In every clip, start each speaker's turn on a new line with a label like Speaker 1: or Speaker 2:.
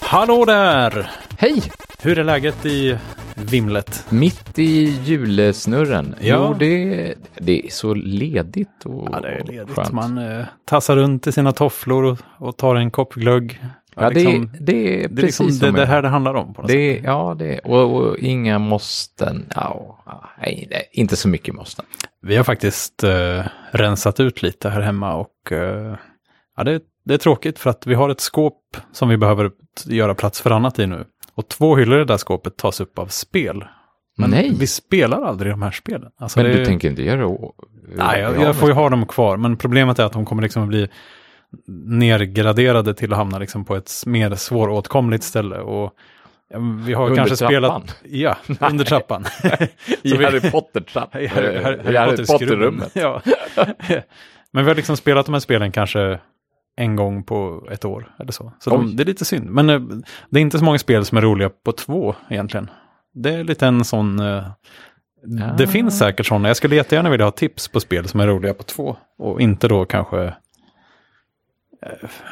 Speaker 1: Hallå där!
Speaker 2: Hej!
Speaker 1: Hur är läget i vimlet?
Speaker 2: Mitt i julesnurren.
Speaker 1: Ja.
Speaker 2: Jo, det, det är så ledigt och skönt.
Speaker 1: Man eh, tassar runt i sina tofflor och, och tar en kopp glögg.
Speaker 2: Ja, det,
Speaker 1: liksom,
Speaker 2: det är
Speaker 1: det, är
Speaker 2: precis
Speaker 1: liksom det,
Speaker 2: som
Speaker 1: det
Speaker 2: jag-
Speaker 1: här det handlar om. På något
Speaker 2: Det, ja, det, och, och inga måsten. Ja, nej, nej, inte så mycket måsten.
Speaker 1: Vi har faktiskt eh, rensat ut lite här hemma och eh, ja, det, det är tråkigt för att vi har ett skåp som vi behöver t- göra plats för annat i nu. Och två hyllor i det där skåpet tas upp av spel. Men
Speaker 2: Nej.
Speaker 1: vi spelar aldrig de här spelen. Alltså,
Speaker 2: Men
Speaker 1: det-
Speaker 2: du tänker inte göra o-
Speaker 1: Nej, jag,
Speaker 2: ja,
Speaker 1: jag får ju ha dem kvar, men problemet är att de kommer liksom att bli nergraderade till att hamna liksom på ett s- mer svåråtkomligt ställe. Och ja, vi har
Speaker 2: Under
Speaker 1: kanske
Speaker 2: trappan?
Speaker 1: spelat... Ja, under trappan. Så
Speaker 2: I
Speaker 1: vi-
Speaker 2: Harry Potter-trapp.
Speaker 1: i Harry- Harry-
Speaker 2: I Harry
Speaker 1: Potter-skrubben.
Speaker 2: Potter-rummet.
Speaker 1: Ja. Men vi har liksom spelat de här spelen kanske en gång på ett år eller så. Så
Speaker 2: Oj.
Speaker 1: de, det är lite synd. Men eh, det är inte så många spel som är roliga på två egentligen. Det är lite en sån... eh, Det
Speaker 2: Ah.
Speaker 1: finns säkert sådana. Jag skulle jättegärna vilja ha tips på spel som är roliga på två. Och inte då kanske...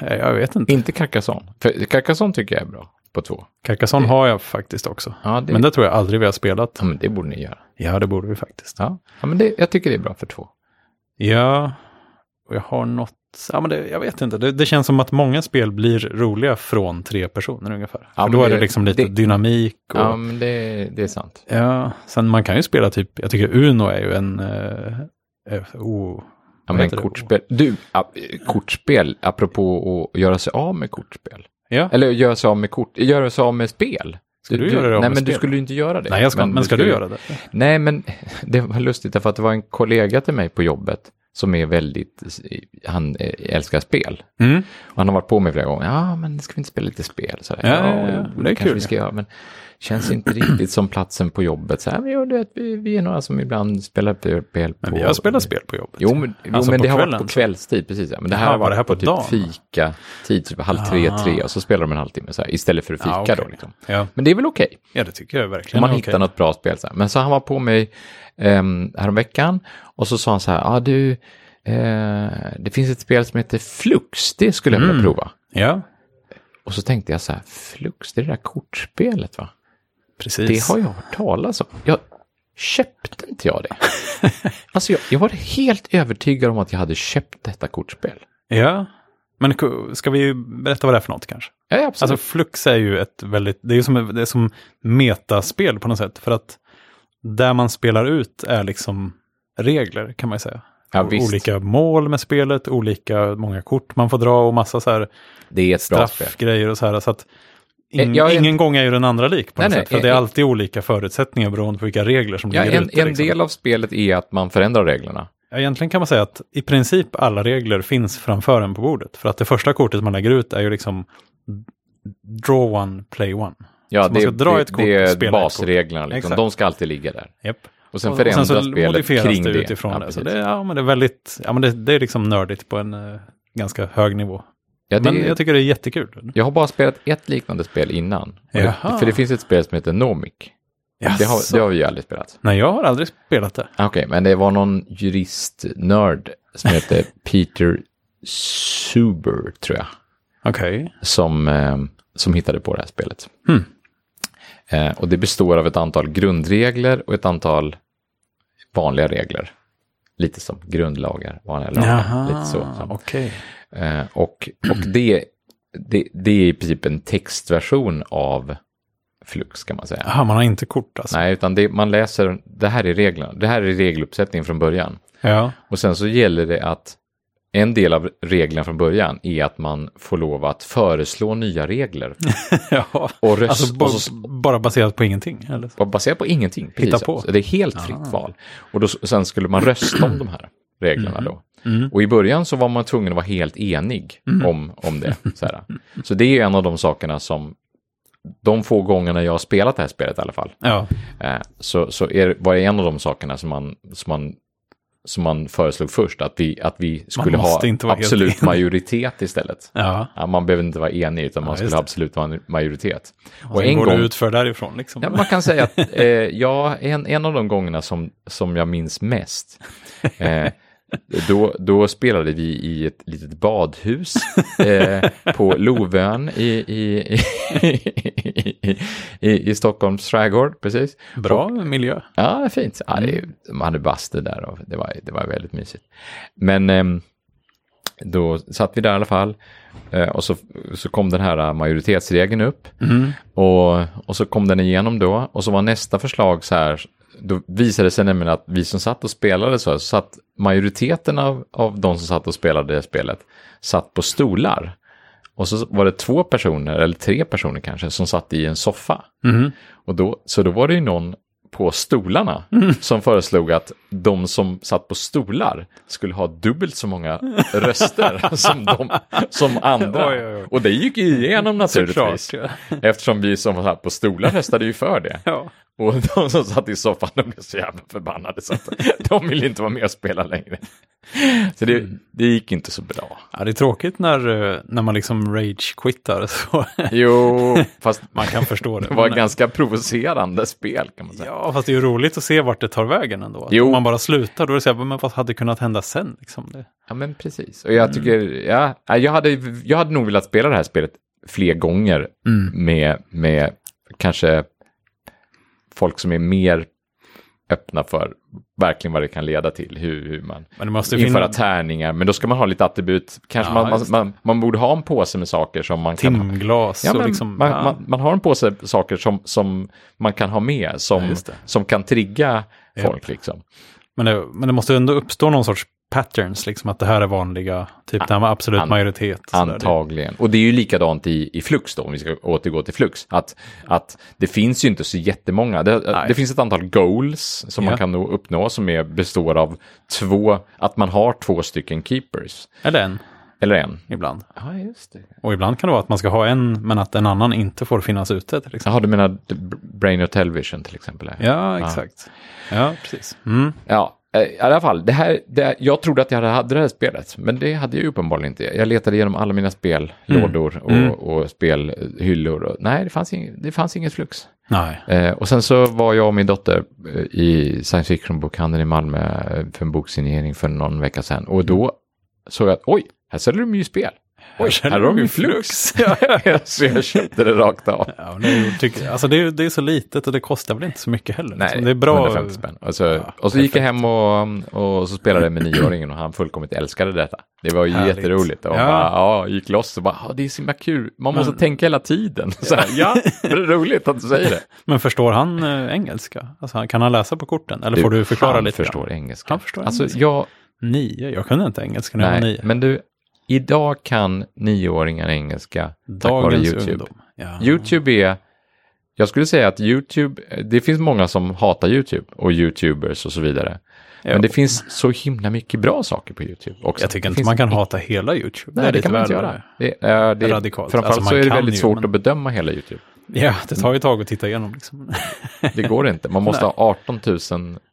Speaker 1: eh, Jag vet inte.
Speaker 2: Inte Carcassonne. För Carcassonne tycker jag är bra på två.
Speaker 1: Carcassonne har jag faktiskt också.
Speaker 2: Ja, Eh. det, Mm.
Speaker 1: Men det tror jag aldrig vi har spelat.
Speaker 2: ja, men det borde ni göra.
Speaker 1: Ja, det borde vi faktiskt.
Speaker 2: Ja, ja men det, jag tycker det är bra för två.
Speaker 1: Ja, och jag har något... Ja, men det, jag vet inte. Det, det känns som att många spel blir roliga från tre personer ungefär.
Speaker 2: Ja,
Speaker 1: För
Speaker 2: men
Speaker 1: då är det
Speaker 2: det-
Speaker 1: liksom lite
Speaker 2: det-
Speaker 1: dynamik. Och,
Speaker 2: Ja,
Speaker 1: ja.
Speaker 2: men det, det är sant.
Speaker 1: sen man kan ju spela typ... Jag tycker Uno är ju en... Eh, eh, oh,
Speaker 2: Ja,
Speaker 1: vad
Speaker 2: men
Speaker 1: heter det?
Speaker 2: kortspel. Du, ja, eh, kortspel, apropå att göra sig av med kortspel.
Speaker 1: Ja.
Speaker 2: Eller göra sig av med kort, göra sig av med spel.
Speaker 1: Ska du göra dig av
Speaker 2: Nej,
Speaker 1: med
Speaker 2: men du
Speaker 1: spel?
Speaker 2: skulle ju inte göra det.
Speaker 1: Nej, jag ska, men, ska du göra det?
Speaker 2: Nej, men det var lustigt därför att det var en kollega till mig på jobbet som är väldigt, han eh, älskar spel.
Speaker 1: Mm.
Speaker 2: Och han har varit på mig flera gånger, ja men ska vi inte spela lite spel? Så
Speaker 1: Ja, ja, ja.
Speaker 2: jo,
Speaker 1: Det är
Speaker 2: kanske
Speaker 1: kul.
Speaker 2: Vi ska göra, men känns inte riktigt som platsen på jobbet. Så här, men jo, du vet, vi, vi är några som ibland spelar spel på...
Speaker 1: Men vi har spelat spel på jobbet.
Speaker 2: Jo, men, jo,
Speaker 1: Alltså
Speaker 2: men
Speaker 1: på
Speaker 2: det har varit
Speaker 1: kvällen.
Speaker 2: på kvällstid, precis. Ja. Men det här
Speaker 1: Jaha,
Speaker 2: har
Speaker 1: var det
Speaker 2: varit
Speaker 1: här
Speaker 2: på,
Speaker 1: på dagen?
Speaker 2: typ fika, tid, typ halv tre,
Speaker 1: Ah.
Speaker 2: tre, och så spelar de en halvtimme så här, istället för att fika
Speaker 1: Ja, okej.
Speaker 2: då. Liksom.
Speaker 1: ja.
Speaker 2: Men det är väl okej,
Speaker 1: ja, det tycker jag
Speaker 2: om
Speaker 1: verkligen.
Speaker 2: man
Speaker 1: är okej.
Speaker 2: hittar något bra spel. Så här. Men så han var på mig um, häromveckan, och så sa han så här, ah, du, eh, det finns ett spel som heter Flux, det skulle jag vilja
Speaker 1: Mm.
Speaker 2: prova.
Speaker 1: Ja,
Speaker 2: Och så tänkte jag så här, Flux, det är det där kortspelet va?
Speaker 1: precis.
Speaker 2: Det har jag hört talas om. Jag köpte inte jag det. alltså jag, jag var helt övertygad om att jag hade köpt detta kortspel.
Speaker 1: Ja, men ko- ska vi berätta vad det är för något kanske?
Speaker 2: Ja, absolut.
Speaker 1: Alltså Flux är ju ett väldigt, det är ju som, det är som metaspel på något sätt. För att där man spelar ut är liksom regler kan man ju säga.
Speaker 2: Ja,
Speaker 1: O-
Speaker 2: visst.
Speaker 1: olika mål med spelet, olika många kort man får dra och massa så här
Speaker 2: det är ett bra spel.
Speaker 1: straffgrejer och så här. Så att in,
Speaker 2: Eh, jag är
Speaker 1: ingen gång är ju den andra lik på
Speaker 2: Nej,
Speaker 1: något
Speaker 2: nej,
Speaker 1: sätt. För
Speaker 2: eh,
Speaker 1: det är
Speaker 2: eh.
Speaker 1: alltid olika förutsättningar beroende på vilka regler som
Speaker 2: Ja,
Speaker 1: ligger
Speaker 2: en,
Speaker 1: ute.
Speaker 2: en
Speaker 1: liksom.
Speaker 2: del av spelet är att man förändrar reglerna.
Speaker 1: Ja, egentligen kan man säga att i princip alla regler finns framför en på bordet. För att det första kortet man lägger ut är ju liksom draw one, play one.
Speaker 2: Ja,
Speaker 1: Så man ska
Speaker 2: det,
Speaker 1: dra
Speaker 2: det,
Speaker 1: ett kort,
Speaker 2: det
Speaker 1: spela
Speaker 2: är
Speaker 1: ett
Speaker 2: basreglerna, liksom.
Speaker 1: Exakt.
Speaker 2: de ska alltid ligga där.
Speaker 1: Japp.
Speaker 2: Och sen
Speaker 1: Och- och
Speaker 2: förändras
Speaker 1: sen så
Speaker 2: spelet
Speaker 1: modifieras
Speaker 2: kring
Speaker 1: det
Speaker 2: det.
Speaker 1: utifrån
Speaker 2: Ja,
Speaker 1: det. Så
Speaker 2: precis.
Speaker 1: det, ja, men det, är väldigt, ja, men det, det är liksom nördigt på en eh, ganska hög nivå.
Speaker 2: Ja, det,
Speaker 1: Men jag tycker det är jättekul.
Speaker 2: jag har bara spelat ett liknande spel innan. Och Det,
Speaker 1: Jaha.
Speaker 2: för det finns ett spel som heter Nomic. Det har,
Speaker 1: Jaså?
Speaker 2: det har vi ju aldrig spelat. Ah,
Speaker 1: Nej, jag har aldrig spelat det.
Speaker 2: Okej, men det var någon juristnörd som hette Peter Suber, tror jag,
Speaker 1: Okej.
Speaker 2: som, eh, som hittade på det här spelet. Eh, och det består av ett antal grundregler och ett antal vanliga regler. Lite som grundlagar, vanliga lagar, lite så.
Speaker 1: okej.
Speaker 2: Eh, och och det, det, det är i princip en textversion av Flux, kan man säga.
Speaker 1: Jaha, man har inte kort alltså.
Speaker 2: Nej, utan det, man läser, det här är reglerna, det här är regeluppsättningen från början.
Speaker 1: Ja,
Speaker 2: Och sen så gäller det att en del av reglerna från början är att man får lov att föreslå nya regler.
Speaker 1: ja.
Speaker 2: Och röst,
Speaker 1: Alltså ba-
Speaker 2: och så,
Speaker 1: bara baserat på ingenting? Eller?
Speaker 2: och baserat på ingenting. precis.
Speaker 1: Hitta på. Ah.
Speaker 2: Så det är helt fritt val. Och då, sen skulle man rösta om de här reglerna då.
Speaker 1: Mm.
Speaker 2: Och i början så var man tvungen att vara helt enig
Speaker 1: Mm-hmm.
Speaker 2: om, om det. Så, här. så det är en av de sakerna som, de få gångerna jag har spelat det här spelet i alla fall,
Speaker 1: Ja,
Speaker 2: Eh, så, så är, var det en av de sakerna som man, som man, som man föreslog först, att vi, att vi skulle ha
Speaker 1: måste inte vara helt
Speaker 2: absolut
Speaker 1: enig.
Speaker 2: majoritet istället.
Speaker 1: ja.
Speaker 2: Ja, man behöver inte vara enig, utan man
Speaker 1: just
Speaker 2: skulle
Speaker 1: det.
Speaker 2: ha absolut ma- majoritet. Och,
Speaker 1: Sen
Speaker 2: en
Speaker 1: går
Speaker 2: gång,
Speaker 1: du ut för därifrån liksom.
Speaker 2: ja, man kan säga att eh, ja, en, en av de gångerna som, som jag minns mest, eh, Då, då spelade vi i ett litet badhus eh, på Lovön i, i, i, i, i Stockholms skärgård. Precis.
Speaker 1: Bra miljö.
Speaker 2: Ja, fint. Ja, det, man hade bastu där och det var, det var väldigt mysigt. Men ehm, då satt vi där i alla fall eh, och så, så kom den här eh, majoritetsregeln upp och, och så kom den igenom då och så var nästa förslag så här, då visade det sig nämligen att vi som satt och spelade så, här, så satt majoriteten av, av de som satt och spelade det spelet satt på stolar. Och så var det två personer, eller tre personer kanske, som satt i en soffa.
Speaker 1: Mhm.
Speaker 2: Och då, så då var det ju någon på stolarna
Speaker 1: Mm.
Speaker 2: som föreslog att de som satt på stolar skulle ha dubbelt så många röster som, de, som andra.
Speaker 1: Oj, oj, oj.
Speaker 2: Och det gick ju igenom naturligtvis.
Speaker 1: Såklart,
Speaker 2: Eftersom vi som satt på stolar röstade ju för det.
Speaker 1: Ja.
Speaker 2: Och de som satt i soffan de blev så jävla förbannade så att de ville inte vara med och spela längre. Så det, det gick inte så bra.
Speaker 1: Ja, det är tråkigt när, eh, när man liksom rage-quittar. Så
Speaker 2: Jo, fast
Speaker 1: man kan förstå det.
Speaker 2: det var
Speaker 1: men-
Speaker 2: ganska provocerande spel kan man säga.
Speaker 1: Ja, fast det är ju roligt att se vart det tar vägen ändå.
Speaker 2: Jo.
Speaker 1: Om man bara slutar, då är det så här, men vad hade kunnat hända sen? Liksom det.
Speaker 2: Ja, men precis. Och
Speaker 1: Mm.
Speaker 2: jag tycker, ja, nej, jag hade, jag hade nog velat spela det här spelet fler gånger
Speaker 1: Mm.
Speaker 2: med, med kanske folk som är mer öppna för verkligen vad det kan leda till, hur, hur man
Speaker 1: Men det måste ju
Speaker 2: införa
Speaker 1: finnas
Speaker 2: tärningar, men då ska man ha lite attribut, kanske
Speaker 1: Ja,
Speaker 2: man, man,
Speaker 1: just
Speaker 2: man, man borde ha en påse med saker som man kan ha.
Speaker 1: timglas
Speaker 2: Ja,
Speaker 1: och
Speaker 2: men
Speaker 1: liksom...
Speaker 2: man,
Speaker 1: ja.
Speaker 2: man, man har en påse saker som, som man kan ha med, som,
Speaker 1: just det.
Speaker 2: som kan trigga folk. Liksom.
Speaker 1: Men, det, men det måste ändå uppstå någon sorts patterns, liksom att det här är vanliga, typ det här med absolut
Speaker 2: an-
Speaker 1: majoritet. och sådär.
Speaker 2: Antagligen. Och det är ju likadant i, i Flux då, om vi ska återgå till Flux. Att, att det finns ju inte så jättemånga. Det,
Speaker 1: Nej.
Speaker 2: det finns ett antal goals som
Speaker 1: Ja.
Speaker 2: man kan nå- uppnå som är, består av två, att man har två stycken keepers.
Speaker 1: Det, eller en,
Speaker 2: Eller en.
Speaker 1: ibland.
Speaker 2: Ja, just det.
Speaker 1: Och ibland kan det vara att man ska ha en, men att en annan inte får finnas ute. Till exempel.
Speaker 2: Jaha, du menar d- Brain och Television till exempel? här.
Speaker 1: Ja, exakt. Ja, precis. Mm.
Speaker 2: Ja, eh, i alla fall. Det här, det, jag trodde att jag hade- hade det här spelet, men det hade jag ju uppenbarligen inte. Jag letade igenom alla mina spellådor och, och spelhyllor. Och, nej, det fanns, ing, det fanns inget flux.
Speaker 1: Nej.
Speaker 2: Eh, och sen så var jag och min dotter eh, i science fiction-bokhandeln i Malmö eh, för en boksignering för någon vecka sedan. Och då såg jag att oj, här säljer de ju spel. Oj, här har de ju flux. så jag köpte det rakt av.
Speaker 1: Ja, nu tycker, alltså det, är, det är så litet och det kostar väl inte så mycket heller.
Speaker 2: Nej,
Speaker 1: liksom. Det är bra.
Speaker 2: 150 spänn. Alltså, och så gick jag hem och, och så spelade jag med nioåringen och han fullkomligt älskade detta. Det var ju
Speaker 1: Härligt.
Speaker 2: jätteroligt. Och
Speaker 1: Ja. Mm.
Speaker 2: ja. Bara, ja, gick loss och bara, ja, det är så himla kul. Man måste tänka hela tiden. Så här, ja, det är roligt att du säger det.
Speaker 1: Men förstår han eh, engelska? Alltså, han- kan han läsa på korten? Eller får du förklara
Speaker 2: han
Speaker 1: lite? grann?
Speaker 2: förstår engelska.
Speaker 1: Han förstår
Speaker 2: alltså,
Speaker 1: engelska.
Speaker 2: Jag,
Speaker 1: Nio? Jag kunde inte engelska när jag var
Speaker 2: nej,
Speaker 1: nio.
Speaker 2: men du, idag kan nioåringar engelska tack vare
Speaker 1: Dagens
Speaker 2: YouTube.
Speaker 1: ungdom. Ja.
Speaker 2: YouTube är, jag skulle säga att YouTube, det finns många som hatar YouTube och YouTubers och så vidare.
Speaker 1: Jo.
Speaker 2: Men det finns så himla mycket bra saker på YouTube också.
Speaker 1: Jag tycker
Speaker 2: Det
Speaker 1: inte
Speaker 2: finns-
Speaker 1: man kan hata hela YouTube.
Speaker 2: Nej, det
Speaker 1: lite
Speaker 2: kan man inte
Speaker 1: väl-
Speaker 2: göra. Det, är det,
Speaker 1: radikalt.
Speaker 2: Framförallt
Speaker 1: Alltså, man
Speaker 2: så är det
Speaker 1: kan
Speaker 2: väldigt
Speaker 1: ju,
Speaker 2: svårt
Speaker 1: men-
Speaker 2: att bedöma hela YouTube.
Speaker 1: Ja, det tar ju ett tag att titta igenom. Liksom.
Speaker 2: Det går inte. Man måste ha 18 000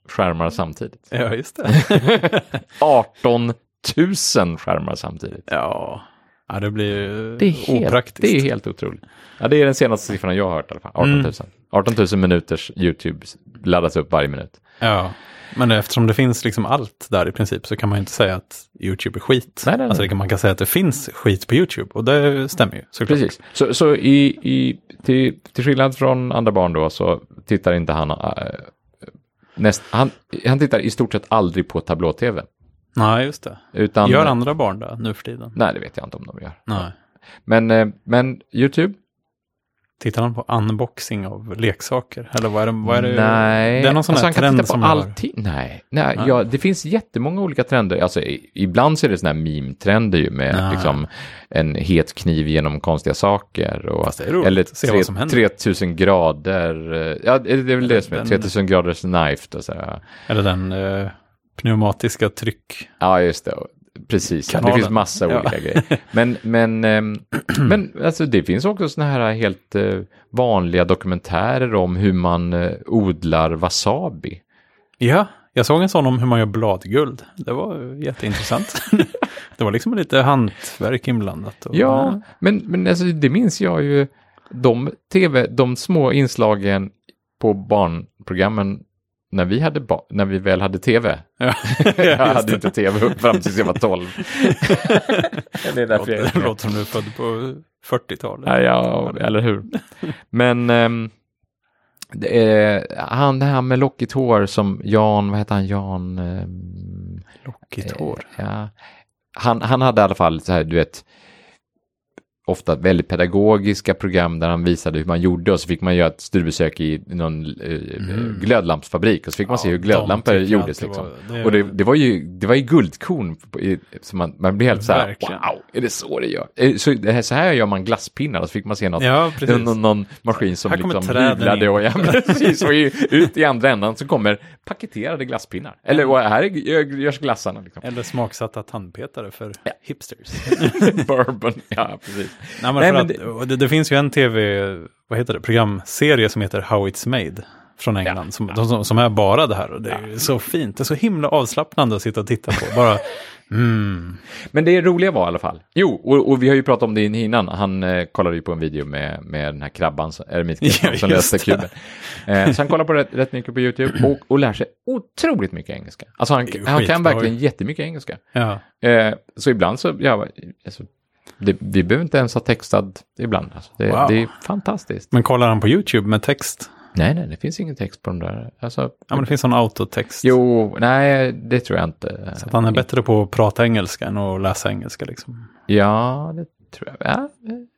Speaker 2: skärmar samtidigt.
Speaker 1: ja, just det.
Speaker 2: 18 000 skärmar samtidigt.
Speaker 1: Ja, ja det blir ju
Speaker 2: Det är helt,
Speaker 1: opraktiskt.
Speaker 2: det är helt otroligt. Ja, det är den senaste siffran jag har hört i alla fall. 18 000. 18 000 minuters YouTube laddas upp varje minut.
Speaker 1: Ja, men eftersom det finns liksom allt där i princip så kan man ju inte säga att YouTube är skit.
Speaker 2: Nej, nej, nej.
Speaker 1: Alltså det kan, man kan säga att det finns skit på YouTube och det stämmer ju såklart.
Speaker 2: Precis. Så, så i, i, till, till skillnad från andra barn då så tittar inte han... Äh, näst, han, han tittar i stort sett aldrig på tablå-tv.
Speaker 1: Nej, just det.
Speaker 2: Utan,
Speaker 1: Gör andra barn det nu för tiden?
Speaker 2: Nej, det vet jag inte om de gör.
Speaker 1: Nej.
Speaker 2: Men, eh, men YouTube?
Speaker 1: Tittar han på unboxing av leksaker? Eller vad är det? Vad är det?
Speaker 2: Nej.
Speaker 1: Det är någon sån
Speaker 2: alltså,
Speaker 1: här
Speaker 2: han kan
Speaker 1: trend
Speaker 2: titta
Speaker 1: som
Speaker 2: på
Speaker 1: jag har.
Speaker 2: allting. Nej, nej, Ja, det finns jättemånga olika trender. Alltså, i, ibland så är det såna här meme-trender ju med
Speaker 1: Ja.
Speaker 2: liksom, en het kniv genom konstiga saker. Och,
Speaker 1: Fast det är roligt.
Speaker 2: Eller
Speaker 1: Se vad som händer.
Speaker 2: 3000 grader. eh, Ja, det är väl det som är
Speaker 1: Den-
Speaker 2: 3000 graders knife. Och så här.
Speaker 1: Eller den eh, pneumatiska tryck...
Speaker 2: Ja, just det. Precis,
Speaker 1: Kanalen.
Speaker 2: det finns massa
Speaker 1: Ja.
Speaker 2: olika grejer. Men, men, ehm, men alltså, det finns också såna här helt eh, vanliga dokumentärer om hur man eh, odlar wasabi.
Speaker 1: Ja, jag såg en sån om hur man gör bladguld. Det var eh, jätteintressant. det var liksom lite hantverk inblandat. Och,
Speaker 2: Ja, men, men alltså, det minns jag ju. De, TV, de små inslagen på barnprogrammen när vi, hade ba- när vi väl hade tv,
Speaker 1: Ja,
Speaker 2: jag
Speaker 1: just
Speaker 2: hade
Speaker 1: det.
Speaker 2: inte tv fram tills jag var 12. det är därför jag
Speaker 1: Låter,
Speaker 2: är
Speaker 1: låter som du är född på 40-talet.
Speaker 2: Nej, ja, eller hur. Men ehm, det är, han det här med lockigt hår som Jan, vad heter han, Jan? ehm,
Speaker 1: Lockigt
Speaker 2: eh,
Speaker 1: hår.
Speaker 2: Ja. Han, han hade i alla fall så här, du vet, ofta väldigt pedagogiska program där han visade hur man gjorde och så fick man göra ett studiebesök i någon eh, glödlampsfabrik och så fick man se hur
Speaker 1: Mm. de
Speaker 2: glödlampor
Speaker 1: tycker jag
Speaker 2: gjordes.
Speaker 1: alltid
Speaker 2: Liksom.
Speaker 1: var- det-
Speaker 2: och det, det, var ju, det var ju guldkorn, på- i- så man, man blev helt så här,
Speaker 1: Verkligen.
Speaker 2: wow, är det så det gör? Eh, Så, det här, så här gör man glasspinnar och så fick man se något
Speaker 1: Ja, precis.
Speaker 2: någon, någon maskin som
Speaker 1: Här kommer
Speaker 2: liksom
Speaker 1: träden
Speaker 2: hyvlade
Speaker 1: in.
Speaker 2: och ja, precis. Och i- ut i andra ändan så kommer paketerade glasspinnar. Eller och här är- gör- görs glassarna liksom.
Speaker 1: Eller smaksatta tandpetare för hipsters.
Speaker 2: Bourbon, ja precis.
Speaker 1: Nej, men
Speaker 2: Nej,
Speaker 1: för
Speaker 2: men
Speaker 1: att,
Speaker 2: det-
Speaker 1: och det, det finns ju en tv, vad heter det, programserie som heter How It's Made från England, som, de som, som är bara det här. Och det är ju så fint, det är så himla avslappnande att sitta och titta på. Bara, mm,
Speaker 2: Men det roliga var i alla fall. Jo, och, och vi har ju pratat om det innan. Han eh, kollade ju på en video med, med den här krabban, som- eremitkräftan
Speaker 1: Ja,
Speaker 2: som
Speaker 1: just
Speaker 2: löste
Speaker 1: det.
Speaker 2: kuben. Eh, så han kollar på rätt, rätt mycket på YouTube och, och lär sig otroligt mycket engelska. Alltså han,
Speaker 1: Det är ju
Speaker 2: han kan
Speaker 1: skitbra
Speaker 2: verkligen
Speaker 1: ju.
Speaker 2: jättemycket engelska.
Speaker 1: ja.
Speaker 2: Eh, så ibland så, ja, alltså, det, vi behöver inte ens ha textad ibland. Alltså, det,
Speaker 1: Wow.
Speaker 2: det är fantastiskt.
Speaker 1: Men kollar han på YouTube med text?
Speaker 2: Nej, nej, det finns ingen text på de där. Alltså,
Speaker 1: Ja, men det finns en autotext.
Speaker 2: Jo, nej, det tror jag inte.
Speaker 1: Att han är bättre på att prata engelska än att läsa engelska. Liksom.
Speaker 2: Ja, det tror jag. Ja, eh,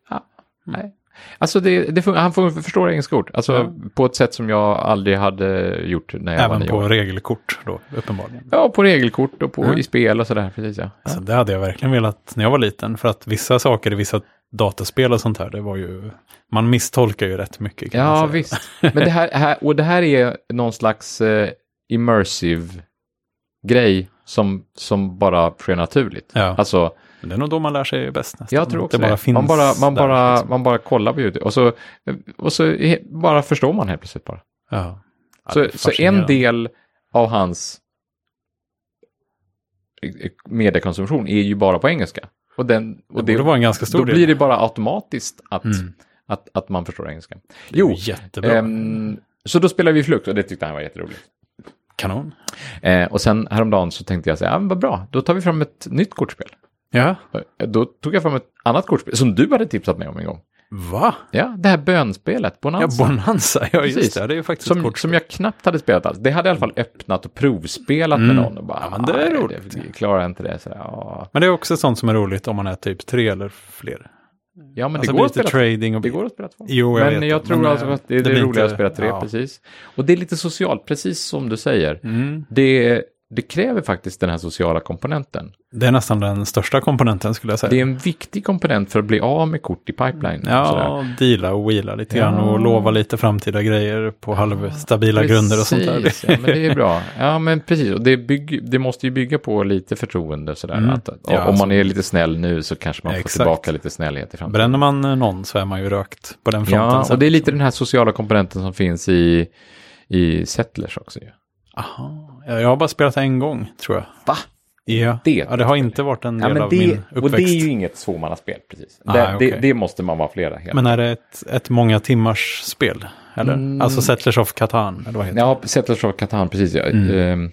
Speaker 2: ja, nej. Alltså, det, det, fun- han får förstå engelska ord. Alltså, på ett sätt som jag aldrig hade gjort när jag var
Speaker 1: Även
Speaker 2: nio
Speaker 1: på
Speaker 2: år.
Speaker 1: regelkort då, uppenbarligen.
Speaker 2: Ja, på regelkort och på, i spel och sådär. Precis, ja.
Speaker 1: Så det hade jag verkligen velat när jag var liten, för att vissa saker i vissa dataspel och sånt här, det var ju, man misstolkar ju rätt mycket. kan man
Speaker 2: Ja,
Speaker 1: säga.
Speaker 2: visst. Men det här, här, och det här är någon slags eh, immersive grej som, som bara sker naturligt.
Speaker 1: Ja.
Speaker 2: Alltså,
Speaker 1: Men det är nog då man lär sig bäst nästan.
Speaker 2: jag tror
Speaker 1: Att
Speaker 2: också
Speaker 1: det. Bara
Speaker 2: det.
Speaker 1: finns
Speaker 2: Man bara, man,
Speaker 1: där,
Speaker 2: bara,
Speaker 1: liksom.
Speaker 2: man bara kollar på YouTube och så, och så he, bara förstår man helt plötsligt bara.
Speaker 1: ja. Ja, det
Speaker 2: Så,
Speaker 1: är
Speaker 2: så en
Speaker 1: fascinerande.
Speaker 2: del av hans eh, mediekonsumtion är ju bara på engelska. Och, den, och
Speaker 1: Det
Speaker 2: det,
Speaker 1: borde vara en ganska stor
Speaker 2: då
Speaker 1: del.
Speaker 2: blir det bara automatiskt att,
Speaker 1: Mm.
Speaker 2: att, att man förstår engelska.
Speaker 1: Det är ju
Speaker 2: Jo,
Speaker 1: Jättebra.
Speaker 2: Ehm, så då spelade vi Flukt och det tyckte han var jätteroligt.
Speaker 1: Kanon.
Speaker 2: Eh, och sen häromdagen så tänkte jag så här, ah, men vad bra, då tar vi fram ett nytt kortspel.
Speaker 1: Ja.
Speaker 2: Eh, Då tog jag fram ett annat kortspel som du hade tipsat mig om en gång.
Speaker 1: Va?
Speaker 2: Ja, det här bönspelet,
Speaker 1: Ja,
Speaker 2: Bonanza.
Speaker 1: Bonanza. Ja, just
Speaker 2: Precis.
Speaker 1: det. Det är ju faktiskt ett
Speaker 2: som,
Speaker 1: kort.
Speaker 2: som jag knappt hade spelat alls. Det hade i alla fall öppnat och provspelat med någon. Och bara,
Speaker 1: Mm. Ja, men det är
Speaker 2: "Nej,
Speaker 1: roligt."
Speaker 2: Det, klarar jag inte det. Så, ja.
Speaker 1: Men det är också sånt som är roligt om man är typ tre eller fler.
Speaker 2: ja, men
Speaker 1: Alltså
Speaker 2: det, går att
Speaker 1: lite
Speaker 2: spela,
Speaker 1: trading och...
Speaker 2: det går att spela två.
Speaker 1: Jo, jag
Speaker 2: men
Speaker 1: vet
Speaker 2: jag
Speaker 1: det.
Speaker 2: tror
Speaker 1: Men,
Speaker 2: alltså
Speaker 1: eh,
Speaker 2: att det är det,
Speaker 1: det blir
Speaker 2: roliga att
Speaker 1: inte-
Speaker 2: spela tre,
Speaker 1: ja.
Speaker 2: precis. Och det är lite socialt, precis som du säger.
Speaker 1: Mm.
Speaker 2: Det, det kräver faktiskt den här sociala komponenten.
Speaker 1: Det är nästan den största komponenten skulle jag säga.
Speaker 2: Det är en viktig komponent för att bli av med kort i pipeline. och sådär.
Speaker 1: Ja, deala och wheela lite grann och lova lite framtida grejer på halvstabila grunder och sånt där.
Speaker 2: Precis, Ja, men det är bra. Ja, men precis. Och det, bygg, det måste ju bygga på lite förtroende och sådär. Att, att,
Speaker 1: Ja,
Speaker 2: om
Speaker 1: alltså.
Speaker 2: man är lite snäll nu så kanske man får
Speaker 1: Exakt.
Speaker 2: tillbaka lite snällhet i framtiden.
Speaker 1: Bränner man eh, någon så är man ju rökt på den fronten.
Speaker 2: Ja,
Speaker 1: sen,
Speaker 2: och det är lite
Speaker 1: liksom.
Speaker 2: den här sociala komponenten som finns i, i Settlers också. Ju.
Speaker 1: Aha. Ja, Eh, Jag har bara spelat en gång, tror jag.
Speaker 2: Va?
Speaker 1: Ja,
Speaker 2: Det
Speaker 1: det, ja, det har inte varit en del av min
Speaker 2: och det är
Speaker 1: uppväxt.
Speaker 2: ju inget tvåmannaspel precis.
Speaker 1: Ah,
Speaker 2: det, det,
Speaker 1: okej.
Speaker 2: det måste man vara flera. Helt.
Speaker 1: Men är det ett, ett många timmars spel? Eller?
Speaker 2: Mm.
Speaker 1: Alltså Settlers of Catan, eller vad heter Mm.
Speaker 2: Ja, Settlers of Catan, precis. Ja. Ehm,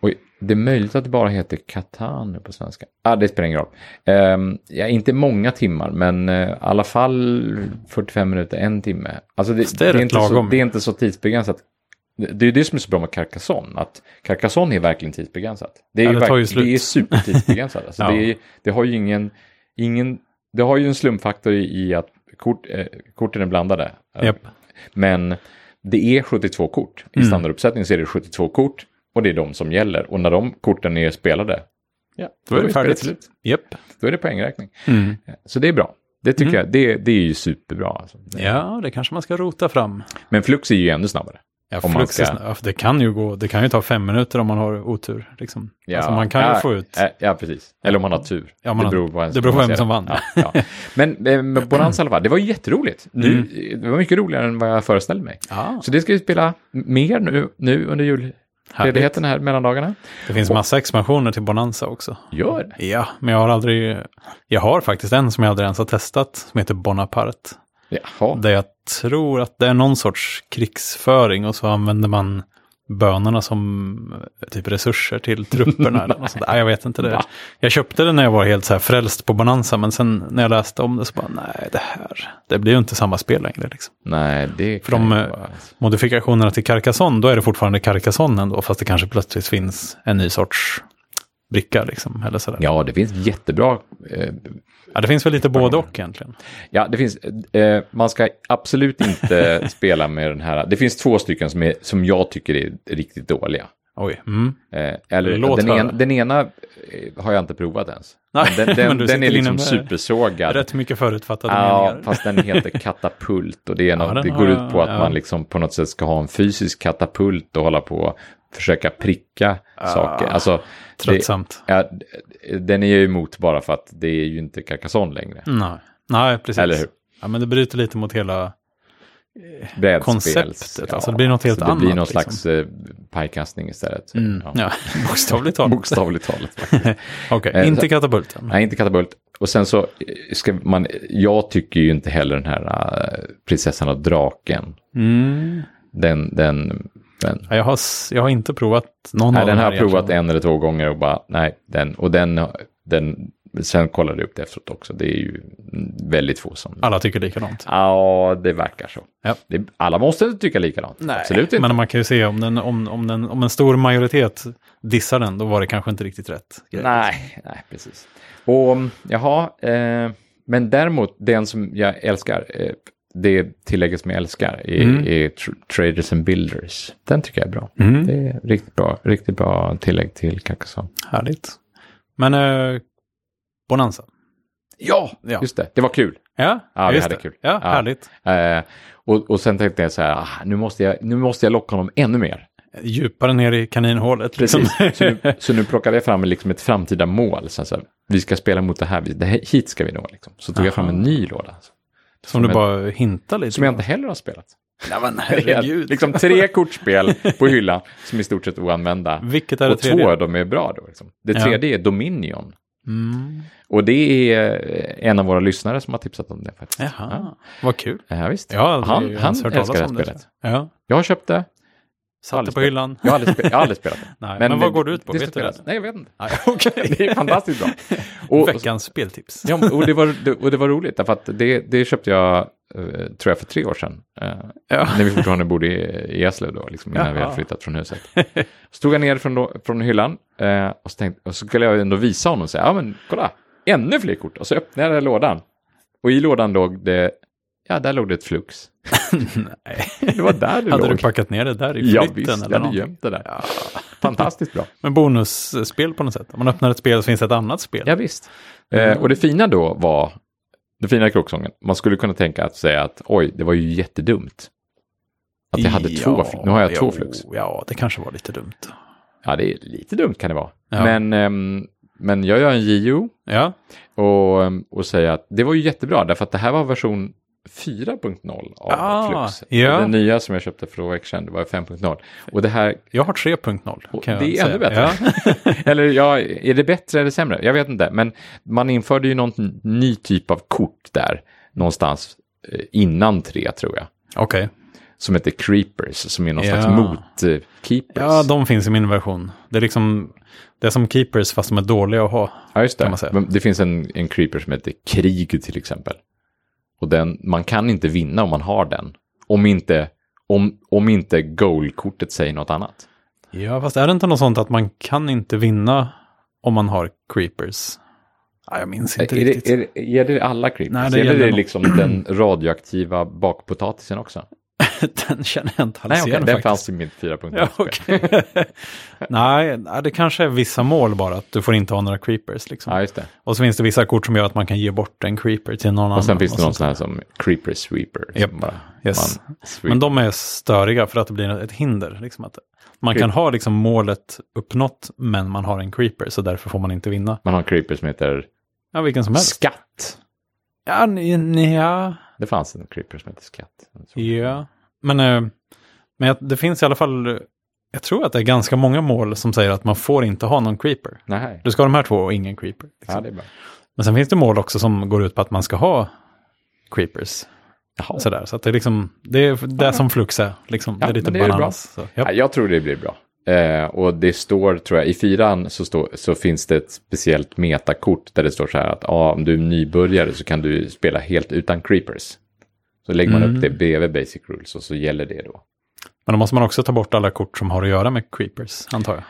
Speaker 2: och det är möjligt att det bara heter Catan nu på svenska. Ah, det spelar ingen roll. Ehm, ja, inte många timmar, men eh, i alla fall 45 minuter, en timme. Alltså det,
Speaker 1: det är rätt
Speaker 2: inte så,
Speaker 1: lagom.
Speaker 2: det är inte så tidsbegränsat. Det det är det som är så bra med Carcassonne, att Carcassonne är verkligen tidsbegränsat. Det är,
Speaker 1: Ja,
Speaker 2: ju
Speaker 1: det tar ju
Speaker 2: verk-
Speaker 1: slut.
Speaker 2: Det är supertidsbegränsat. Alltså
Speaker 1: Ja.
Speaker 2: det, är, det har ju ingen, ingen, det har ju en slumpfaktor i i att kort, eh, korten är blandade.
Speaker 1: det? Japp.
Speaker 2: Men det är 72 kort. I
Speaker 1: Mm.
Speaker 2: standarduppsättning så är det 72 kort och det är de som gäller. Och när de korten är spelade, ja,
Speaker 1: Då är det
Speaker 2: spelet
Speaker 1: färdigt.
Speaker 2: slut.
Speaker 1: Japp.
Speaker 2: Då är det poängräkning.
Speaker 1: Mm.
Speaker 2: Så det är bra. Det tycker jag, det, det är ju superbra. Alltså.
Speaker 1: Ja, det kanske man ska rota fram.
Speaker 2: Men Flux är ju ännu snabbare.
Speaker 1: Ja,
Speaker 2: Om man
Speaker 1: Flux är
Speaker 2: ska-
Speaker 1: snö- ja, för det kan ju gå, det kan ju ta fem minuter om man har otur. Liksom.
Speaker 2: Ja.
Speaker 1: Alltså man kan ju
Speaker 2: ja,
Speaker 1: få ut,
Speaker 2: Ja, ja, precis. Eller om man har tur.
Speaker 1: Ja, man
Speaker 2: det
Speaker 1: har-
Speaker 2: beror på,
Speaker 1: det beror på
Speaker 2: hur
Speaker 1: vem
Speaker 2: man ser
Speaker 1: som
Speaker 2: det.
Speaker 1: vann.
Speaker 2: Ja, ja. Men eh, med Bonanza i alla fall, det var ju jätteroligt. Nu,
Speaker 1: Mm.
Speaker 2: Det var mycket roligare än vad jag föreställde mig.
Speaker 1: Ja.
Speaker 2: Så det ska vi spela mer nu, nu under julledigheten här mellan dagarna.
Speaker 1: det finns massa expansioner till Bonanza också.
Speaker 2: Gör det.
Speaker 1: Ja, men jag har aldrig, jag har faktiskt en som jag aldrig ens har testat, som heter Bonaparte.
Speaker 2: Jaha.
Speaker 1: Där jag tror att det är någon sorts krigsföring och så använder man bönorna som eh, typ resurser till trupperna. eller något sånt. Nej, jag vet inte det. Jag köpte den när jag var helt så här frälst på Bonanza, men sen när jag läste om det så bara, nej, det här, det blir ju inte samma spel längre. Liksom.
Speaker 2: Nej, det
Speaker 1: För de, eh, Modifikationerna till Carcassonne, då är det fortfarande Carcassonne ändå, fast det kanske plötsligt finns en ny sorts bricka. Liksom, eller sådär. Ja.
Speaker 2: Ja, det finns jättebra... Eh,
Speaker 1: det finns väl lite både och egentligen.
Speaker 2: ja, det finns... Eh, man ska absolut inte spela med den här. Det finns två stycken som, är, som jag tycker är riktigt dåliga.
Speaker 1: Oj. Mm.
Speaker 2: Eh, eller
Speaker 1: Låt
Speaker 2: den,
Speaker 1: höra.
Speaker 2: en, den ena eh, har jag inte provat ens.
Speaker 1: Nej,
Speaker 2: Men den
Speaker 1: men
Speaker 2: den,
Speaker 1: du
Speaker 2: den
Speaker 1: sitter
Speaker 2: är liksom
Speaker 1: inne med
Speaker 2: supersågad.
Speaker 1: Rätt mycket förutfattade
Speaker 2: Ja,
Speaker 1: meningar.
Speaker 2: fast den heter katapult och det, är något,
Speaker 1: den
Speaker 2: det
Speaker 1: har
Speaker 2: går
Speaker 1: jag-
Speaker 2: ut på att
Speaker 1: ja.
Speaker 2: man liksom på något sätt ska ha en fysisk katapult och hålla på och försöka pricka
Speaker 1: Ah.
Speaker 2: saker. Alltså, det,
Speaker 1: Tröttsamt.
Speaker 2: ja, den är jag emot bara för att det är ju inte Carcassonne längre.
Speaker 1: Nej. Nej, precis.
Speaker 2: Eller hur?
Speaker 1: Ja, men det bryter lite mot hela...
Speaker 2: Brädspels-
Speaker 1: Konceptet, alltså, det blir något helt
Speaker 2: så det blir någon
Speaker 1: annat, liksom.
Speaker 2: slags eh, pajkastning istället. Så,
Speaker 1: Mm. Ja, bokstavligt talat.
Speaker 2: Bokstavligt talat. faktiskt.
Speaker 1: Okej,
Speaker 2: Eh,
Speaker 1: inte katapulten.
Speaker 2: Nej, inte katapult. Och sen så eh, ska man, jag tycker ju inte heller den här eh, prinsessan och draken.
Speaker 1: Mm.
Speaker 2: Den, den, den
Speaker 1: Ja, Jag, har, s- jag har inte provat någon
Speaker 2: Nej,
Speaker 1: av
Speaker 2: den
Speaker 1: de
Speaker 2: har
Speaker 1: här
Speaker 2: jag provat
Speaker 1: egentligen.
Speaker 2: en eller två gånger och bara, nej, den, och den, den, sen kollade jag upp det efteråt också, det är ju väldigt få som...
Speaker 1: Alla tycker likadant.
Speaker 2: Ja, det verkar så.
Speaker 1: Ja.
Speaker 2: Det, alla måste inte tycka likadant, absolut inte.
Speaker 1: Men man kan ju se om, den, om, om, den, om en stor majoritet dissar den, då var det kanske inte riktigt rätt. grej.
Speaker 2: Nej, nej, precis. Och mm, jaha, eh, men däremot den som jag älskar, eh, det tillägget som jag älskar är,
Speaker 1: Mm.
Speaker 2: är tr- Traders and Builders. Den tycker jag är bra. Det är riktigt bra, riktigt bra tillägg till Carcassonne.
Speaker 1: Härligt. Men eh, Bonanza.
Speaker 2: Ja,
Speaker 1: Ja.
Speaker 2: just det. Det var kul.
Speaker 1: Ja,
Speaker 2: Ja, vi
Speaker 1: just
Speaker 2: hade
Speaker 1: det.
Speaker 2: kul.
Speaker 1: Ja,
Speaker 2: Ja.
Speaker 1: härligt.
Speaker 2: Eh, och, och sen tänkte jag så här, ah, nu, måste jag, nu måste jag locka honom ännu mer.
Speaker 1: Djupare ner i kaninhålet. Liksom.
Speaker 2: Så nu, så nu plockade jag fram liksom ett framtida mål. Så här, vi ska spela mot det här, vi- det här hit ska vi nå. Liksom. Så tog jag fram en ny låda. Alltså,
Speaker 1: Som du
Speaker 2: jag-
Speaker 1: bara hintar lite.
Speaker 2: som jag inte heller har spelat.
Speaker 1: Nej, men
Speaker 2: Jag,
Speaker 1: herregud.
Speaker 2: liksom tre kortspel på hyllan som i stort sett är oanvända.
Speaker 1: Vilket är det
Speaker 2: Och två
Speaker 1: tredje?
Speaker 2: av dem är bra då. Liksom. Det
Speaker 1: Ja.
Speaker 2: tredje är Dominion.
Speaker 1: Mm.
Speaker 2: Och det är eh, en av våra lyssnare som har tipsat om det faktiskt.
Speaker 1: Jaha, vad kul.
Speaker 2: Ja, eh, visst.
Speaker 1: Jag har aldrig
Speaker 2: han
Speaker 1: ens
Speaker 2: han
Speaker 1: hört
Speaker 2: älskar
Speaker 1: talas
Speaker 2: det här
Speaker 1: om det.
Speaker 2: spelet.
Speaker 1: Ja,
Speaker 2: Jag har köpt det.
Speaker 1: satte
Speaker 2: Aldrig
Speaker 1: på
Speaker 2: spelat.
Speaker 1: hyllan.
Speaker 2: Jag har aldrig, spe- jag har aldrig spelat det.
Speaker 1: Nej, men vad går det ut på?
Speaker 2: ska
Speaker 1: Vet du det?
Speaker 2: spelas. Nej, jag vet inte.
Speaker 1: Nej, okej.
Speaker 2: Det är fantastiskt bra. Och,
Speaker 1: Veckans speltips.
Speaker 2: ja, men- och, det var, det- och det var roligt, därför att det, det köpte jag, eh, tror jag, för tre år sedan. eh,
Speaker 1: Ja.
Speaker 2: När vi fortfarande bodde i i Eslöv då, liksom, innan vi
Speaker 1: Jaha.
Speaker 2: hade flyttat från huset. Så tog jag ner från, då- från hyllan eh, och, så tänkte, och så skulle jag ändå visa honom och säga, ja men kolla, ännu fler kort. Och så öppnade jag lådan. Och i lådan låg det, ja där låg det ett flux.
Speaker 1: Nej.
Speaker 2: Det var där det
Speaker 1: Hade
Speaker 2: låg.
Speaker 1: du packat ner det där i flytten?
Speaker 2: ja visst, jag
Speaker 1: eller
Speaker 2: hade
Speaker 1: någonting?
Speaker 2: gömt det där.
Speaker 1: Ja.
Speaker 2: Fantastiskt bra.
Speaker 1: Men bonusspel på något sätt. Om man öppnar ett spel så finns det ett annat spel.
Speaker 2: Ja, visst. Eh, och det fina då var, det fina i kråksången, man skulle kunna tänka att säga att oj, det var ju jättedumt. Att jag hade två, fl- nu har jag två
Speaker 1: jo,
Speaker 2: flux.
Speaker 1: Ja, det kanske var lite dumt.
Speaker 2: Ja, det är lite dumt kan det vara.
Speaker 1: Ja.
Speaker 2: Men, ehm, men jag gör en JO
Speaker 1: Ja,
Speaker 2: och, ehm, och säger att det var ju jättebra, därför att det här var version 4.0 av
Speaker 1: Ah,
Speaker 2: Flux.
Speaker 1: ja.
Speaker 2: Den nya som jag köpte för några veckor sedan, det var 5.0. Och det här,
Speaker 1: jag har 3.0.
Speaker 2: och
Speaker 1: Kan jag
Speaker 2: det är
Speaker 1: säga.
Speaker 2: ännu bättre. eller ja, är det bättre eller sämre? Jag vet inte, men man införde ju någon ny typ av kort där, någonstans eh, innan tre tror jag,
Speaker 1: Ja. Okej.
Speaker 2: som heter creepers, som är någon slags
Speaker 1: Ja.
Speaker 2: mot-keepers.
Speaker 1: Ja, de finns i min version. Det är liksom, det är som keepers fast de är dåliga att ha.
Speaker 2: Ja, just
Speaker 1: kan
Speaker 2: det.
Speaker 1: man säga.
Speaker 2: Men Det finns en, en creeper som heter krig till exempel. Och den, man kan inte vinna om man har den. Om inte, om, om inte goal-kortet säger något annat.
Speaker 1: Ja, fast är det inte något sånt att man kan inte vinna om man har creepers? Ja, jag minns inte
Speaker 2: Är
Speaker 1: riktigt.
Speaker 2: det, är, det- gäller det alla creepers?
Speaker 1: Nej, det
Speaker 2: det gäller,
Speaker 1: gäller
Speaker 2: det
Speaker 1: nog-
Speaker 2: liksom den radioaktiva bakpotatisen också?
Speaker 1: Den känner jag inte alls
Speaker 2: Nej, okej,
Speaker 1: igen faktiskt.
Speaker 2: den fanns i mitt 4.0.
Speaker 1: Ja,
Speaker 2: spel.
Speaker 1: okej. nej, nej, det kanske är vissa mål bara, att du får inte ha några creepers. Liksom.
Speaker 2: Ja, just det.
Speaker 1: Och så finns det vissa kort som gör att man kan ge bort en creeper till någon annan.
Speaker 2: Och sen finns det
Speaker 1: så-
Speaker 2: någon sån här som Creeper Sweeper.
Speaker 1: Japp,
Speaker 2: som bara,
Speaker 1: yes.
Speaker 2: man sweep-
Speaker 1: Men de är störiga för att det blir ett hinder. Liksom, att man kan ha liksom, målet uppnått, men man har en creeper, så därför får man inte vinna.
Speaker 2: Man har en Creeper som heter
Speaker 1: Ja, vilken som helst.
Speaker 2: Skatt.
Speaker 1: Ja, ni- ni- ja.
Speaker 2: Det fanns en Creeper som heter Skatt. Jag tror.
Speaker 1: Ja, men, eh, men jag- det finns i alla fall, jag tror att det är ganska många mål som säger att man får inte ha någon creeper.
Speaker 2: Nej.
Speaker 1: Du ska ha de här två och ingen creeper. Liksom.
Speaker 2: Ja, det är bra.
Speaker 1: Men sen finns det mål också som går ut på att man ska ha creepers.
Speaker 2: Jaha.
Speaker 1: Sådär. Så att det är liksom, det är det som Flux är. Liksom,
Speaker 2: Ja,
Speaker 1: det är lite
Speaker 2: men det är ju
Speaker 1: bananas. Så, japp.
Speaker 2: Ja, jag tror det blir bra. Eh, och det står, tror jag, i fyran så, står, så finns det ett speciellt metakort där det står så här att ah, om du är nybörjare så kan du spela helt utan creepers. Så lägger man
Speaker 1: Mm.
Speaker 2: upp det bredvid basic rules och så gäller det då.
Speaker 1: Men då måste man också ta bort alla kort som har att göra med creepers, antar jag.